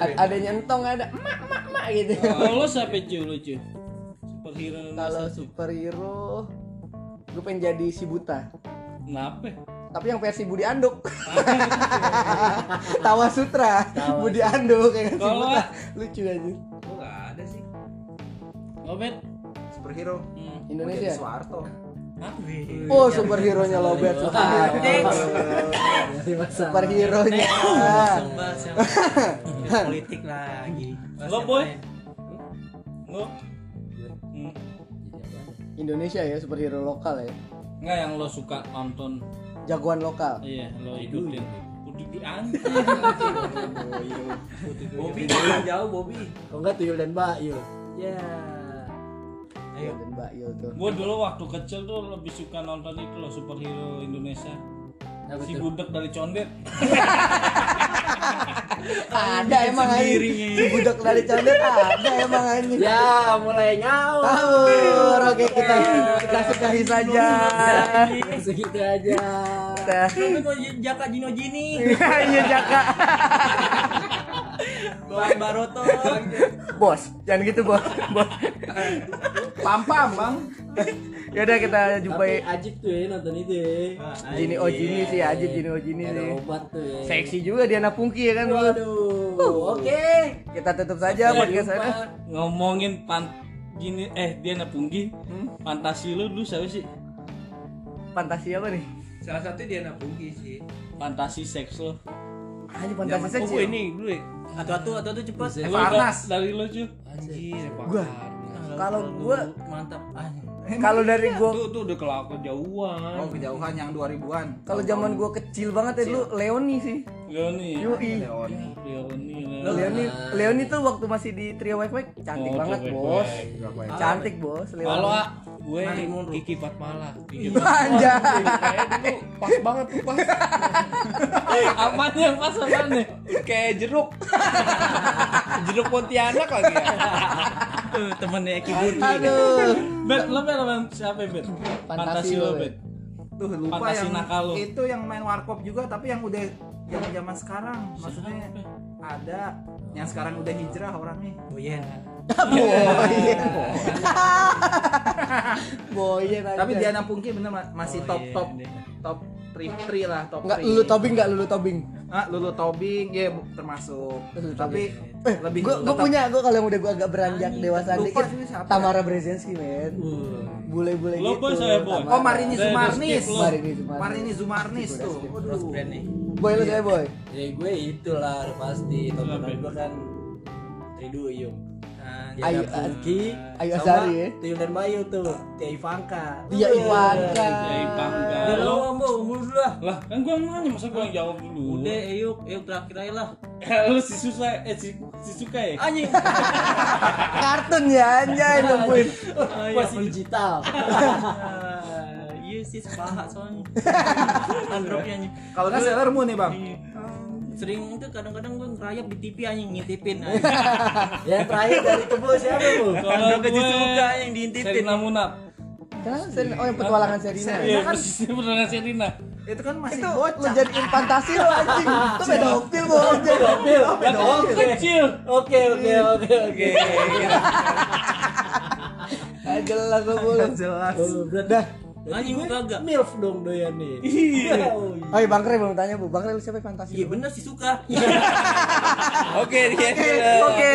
Speaker 1: A- adanya entong ada emak emak emak gitu
Speaker 2: Kalau sampai cuy lucu. Superhero Indonesia.
Speaker 1: kalau superhero gue pengen jadi si buta
Speaker 2: Kenapa?
Speaker 1: tapi yang versi Budi Anduk Tawa Sutra Budi Anduk kayak si
Speaker 2: Kalau-
Speaker 1: Buta lucu aja
Speaker 4: Kok gak ada sih?
Speaker 2: Lobet.
Speaker 9: superhero. Mau
Speaker 2: Hmm.
Speaker 9: Jadi
Speaker 1: Indonesia
Speaker 9: Soeharto.
Speaker 1: oh superhero nya lobet
Speaker 6: Dari masa.
Speaker 1: superhero nya
Speaker 5: Langsung bahas yang yang politik lagi. ya? Bahas
Speaker 2: Lo,
Speaker 5: yang
Speaker 2: Boy?
Speaker 5: lain.
Speaker 2: Lo? Hmm.
Speaker 1: Indonesia ya superhero lokal ya
Speaker 2: Enggak yang lo suka nonton.
Speaker 1: jagoan lokal
Speaker 2: Iya, lo ikutin. Udah di anjing.
Speaker 5: ya,
Speaker 4: Bobby, jangan jauh Bobby.
Speaker 6: Kalau enggak tuyul dan bayul. Ya.
Speaker 1: Ayo. dan Mbak Yul tuh
Speaker 2: Gue dulu waktu kecil tuh lebih suka nonton itu loh superhero Indonesia.
Speaker 6: Apa
Speaker 2: Si
Speaker 6: tuh?
Speaker 2: budak dari Condet.
Speaker 1: ada emang aja si budak dari Condet ada emang aja
Speaker 6: Ya, mulai ngawur.
Speaker 1: Tawur, oke kita kita sudahi saja
Speaker 6: Segitu aja.
Speaker 1: kita
Speaker 5: Tapi kok J- Jaka Jino Jini,
Speaker 1: iya Jaka
Speaker 5: Bang Baroto.
Speaker 1: bos jangan gitu bos bos
Speaker 9: Pampam, Bang.
Speaker 1: yaudah Ya kita
Speaker 6: Tapi
Speaker 1: jumpai Ah, iya.
Speaker 6: ajib tuh ya nonton itu ya.
Speaker 1: oh, Jini Ojini sih ajib Jini Ojini
Speaker 6: Ada
Speaker 1: sih
Speaker 6: obat tuh ya.
Speaker 1: seksi juga Diana Pungki ya kan
Speaker 6: Waduh.
Speaker 10: Oke.
Speaker 1: Kita tutup saja podcast
Speaker 2: Lupa
Speaker 1: saya.
Speaker 2: ngomongin pan gini eh dia napunggi
Speaker 1: Hmm?
Speaker 2: fantasi lu dulu siapa sih
Speaker 1: Fantasi apa nih?
Speaker 4: Salah satu dia nabugi sih.
Speaker 2: fantasi seks lu
Speaker 1: Hanya fantasi
Speaker 5: Oh,
Speaker 1: seks.
Speaker 5: gua
Speaker 1: ya?
Speaker 5: ini dulu ya. Atu-atu, atu-atu cepat.
Speaker 2: Lu
Speaker 1: Farnas.
Speaker 2: da- dari lu cuy
Speaker 5: Anjir,
Speaker 1: Gua. Kalau gua
Speaker 5: mantap. Ah,
Speaker 1: kalau dari gua
Speaker 2: tuh tuh udah kelaku jauhan
Speaker 4: Oh kejauhan yang 2000-an.
Speaker 1: kalau zaman gua kecil banget ya dulu Leoni sih.
Speaker 2: Leoni
Speaker 1: Yoi.
Speaker 4: Leoni.
Speaker 2: Leoni
Speaker 1: Leoni Leoni tuh waktu masih di Trio Wek Ah. Wek cantik
Speaker 2: Oh,
Speaker 1: banget,
Speaker 2: Trio Wek
Speaker 1: Bos.
Speaker 2: Wek.
Speaker 1: Cantik, Bos.
Speaker 2: kalau
Speaker 1: Leoni.
Speaker 2: ah, Iya, gue Kiki Fatmala Kiki
Speaker 1: Anjay.
Speaker 2: kayak dulu pas banget tuh pas apa yang ya, pas apa nih
Speaker 5: kayak jeruk jeruk Pontianak lagi ya Tuh, temennya Eki Budi
Speaker 1: Aduh.
Speaker 2: bet lo bet lo bet siapa bet fantasi lo bet
Speaker 4: Tuh lupa
Speaker 2: Fantasi
Speaker 4: yang
Speaker 2: nakal lu.
Speaker 4: itu yang main warkop juga tapi yang udah zaman-zaman sekarang. Maksudnya ada yang sekarang udah hijrah orangnya.
Speaker 5: Boyen
Speaker 1: Oh, iya. Boyen aja.
Speaker 4: Tapi Diana Pungki bener ma- masih top top top three three lah top
Speaker 1: Enggak
Speaker 4: three.
Speaker 1: lulu tobing enggak lulu tobing.
Speaker 4: Ah, Lulu Tobing ya bu- termasuk.
Speaker 1: Lulu
Speaker 4: tapi lebih
Speaker 1: Gue Eh,
Speaker 4: tetap-
Speaker 1: punya, gue kalau yang udah gue agak beranjak dewasa
Speaker 4: lupa
Speaker 1: dikit
Speaker 4: sih siapa.
Speaker 1: Tamara Brzezinski men Bule-bule gitu
Speaker 2: Lo boy, saya boy.
Speaker 1: Tamara.
Speaker 4: Oh Marini
Speaker 2: Udah, udah
Speaker 4: Zumarnis.
Speaker 2: skip lu.
Speaker 1: Marini Zumarnis.
Speaker 4: Marini Zumarnis tuh. Waduh.
Speaker 1: Boy lu saya boy
Speaker 10: Ya gue itulah udah pasti
Speaker 2: Gitu,
Speaker 10: tontonan gue kan Triduyung.
Speaker 1: Ayu-
Speaker 10: Ayu Anki,
Speaker 1: Ayu
Speaker 10: sama
Speaker 1: Azari ya?
Speaker 10: Tuyul dan Bayu tuh, Tia Ivanka.
Speaker 1: Dia Iya, Ivanka
Speaker 2: ya bangga
Speaker 5: udah
Speaker 2: lo
Speaker 5: lama mbak umur dulu lah
Speaker 2: lah kan gue nanya masa gue yang jawab dulu
Speaker 5: udah yuk yuk terakhir aja lah
Speaker 2: Eh, lu si susah eh si, si suka ya
Speaker 5: anjing
Speaker 1: Kartun ya anjay nungguin
Speaker 10: Masih digital.
Speaker 5: Ah, iya sih sepaha soalnya andropnya anjing
Speaker 4: Kalau nggak Sailor Moon nih bang.
Speaker 5: sering itu kadang-kadang gue ngerayap di TV anjing ngintipin anjing.
Speaker 10: Yang terakhir dari Cebu siapa, Bu?
Speaker 2: kalau
Speaker 5: Androk
Speaker 2: gue
Speaker 5: aja suka yang diintipin
Speaker 2: Serina Munaf
Speaker 1: Kenapa Serena? Oh yang petualangan Serena
Speaker 2: iya persis beneran Serina
Speaker 4: Itu kan masih
Speaker 1: Itu lu
Speaker 4: bocah.
Speaker 1: jadiin fantasi lu anjing Lu pedofil lu anjing
Speaker 10: Mobil, oke.
Speaker 2: Oh, kecil
Speaker 10: Oke, oke, oke, oke.
Speaker 1: Ah, Jelas lu bulu
Speaker 4: Jelas.
Speaker 10: Oh, Berarti
Speaker 5: anjing gue kagak
Speaker 10: MILF dong doyan nih. Iya.
Speaker 1: Oh iya Bang Kre
Speaker 2: Iya,
Speaker 1: belum tanya bu Bang Kre lu siapa yang fantasi
Speaker 5: iya
Speaker 1: lu?
Speaker 5: bener sih suka
Speaker 6: Oke, dia.
Speaker 1: Oke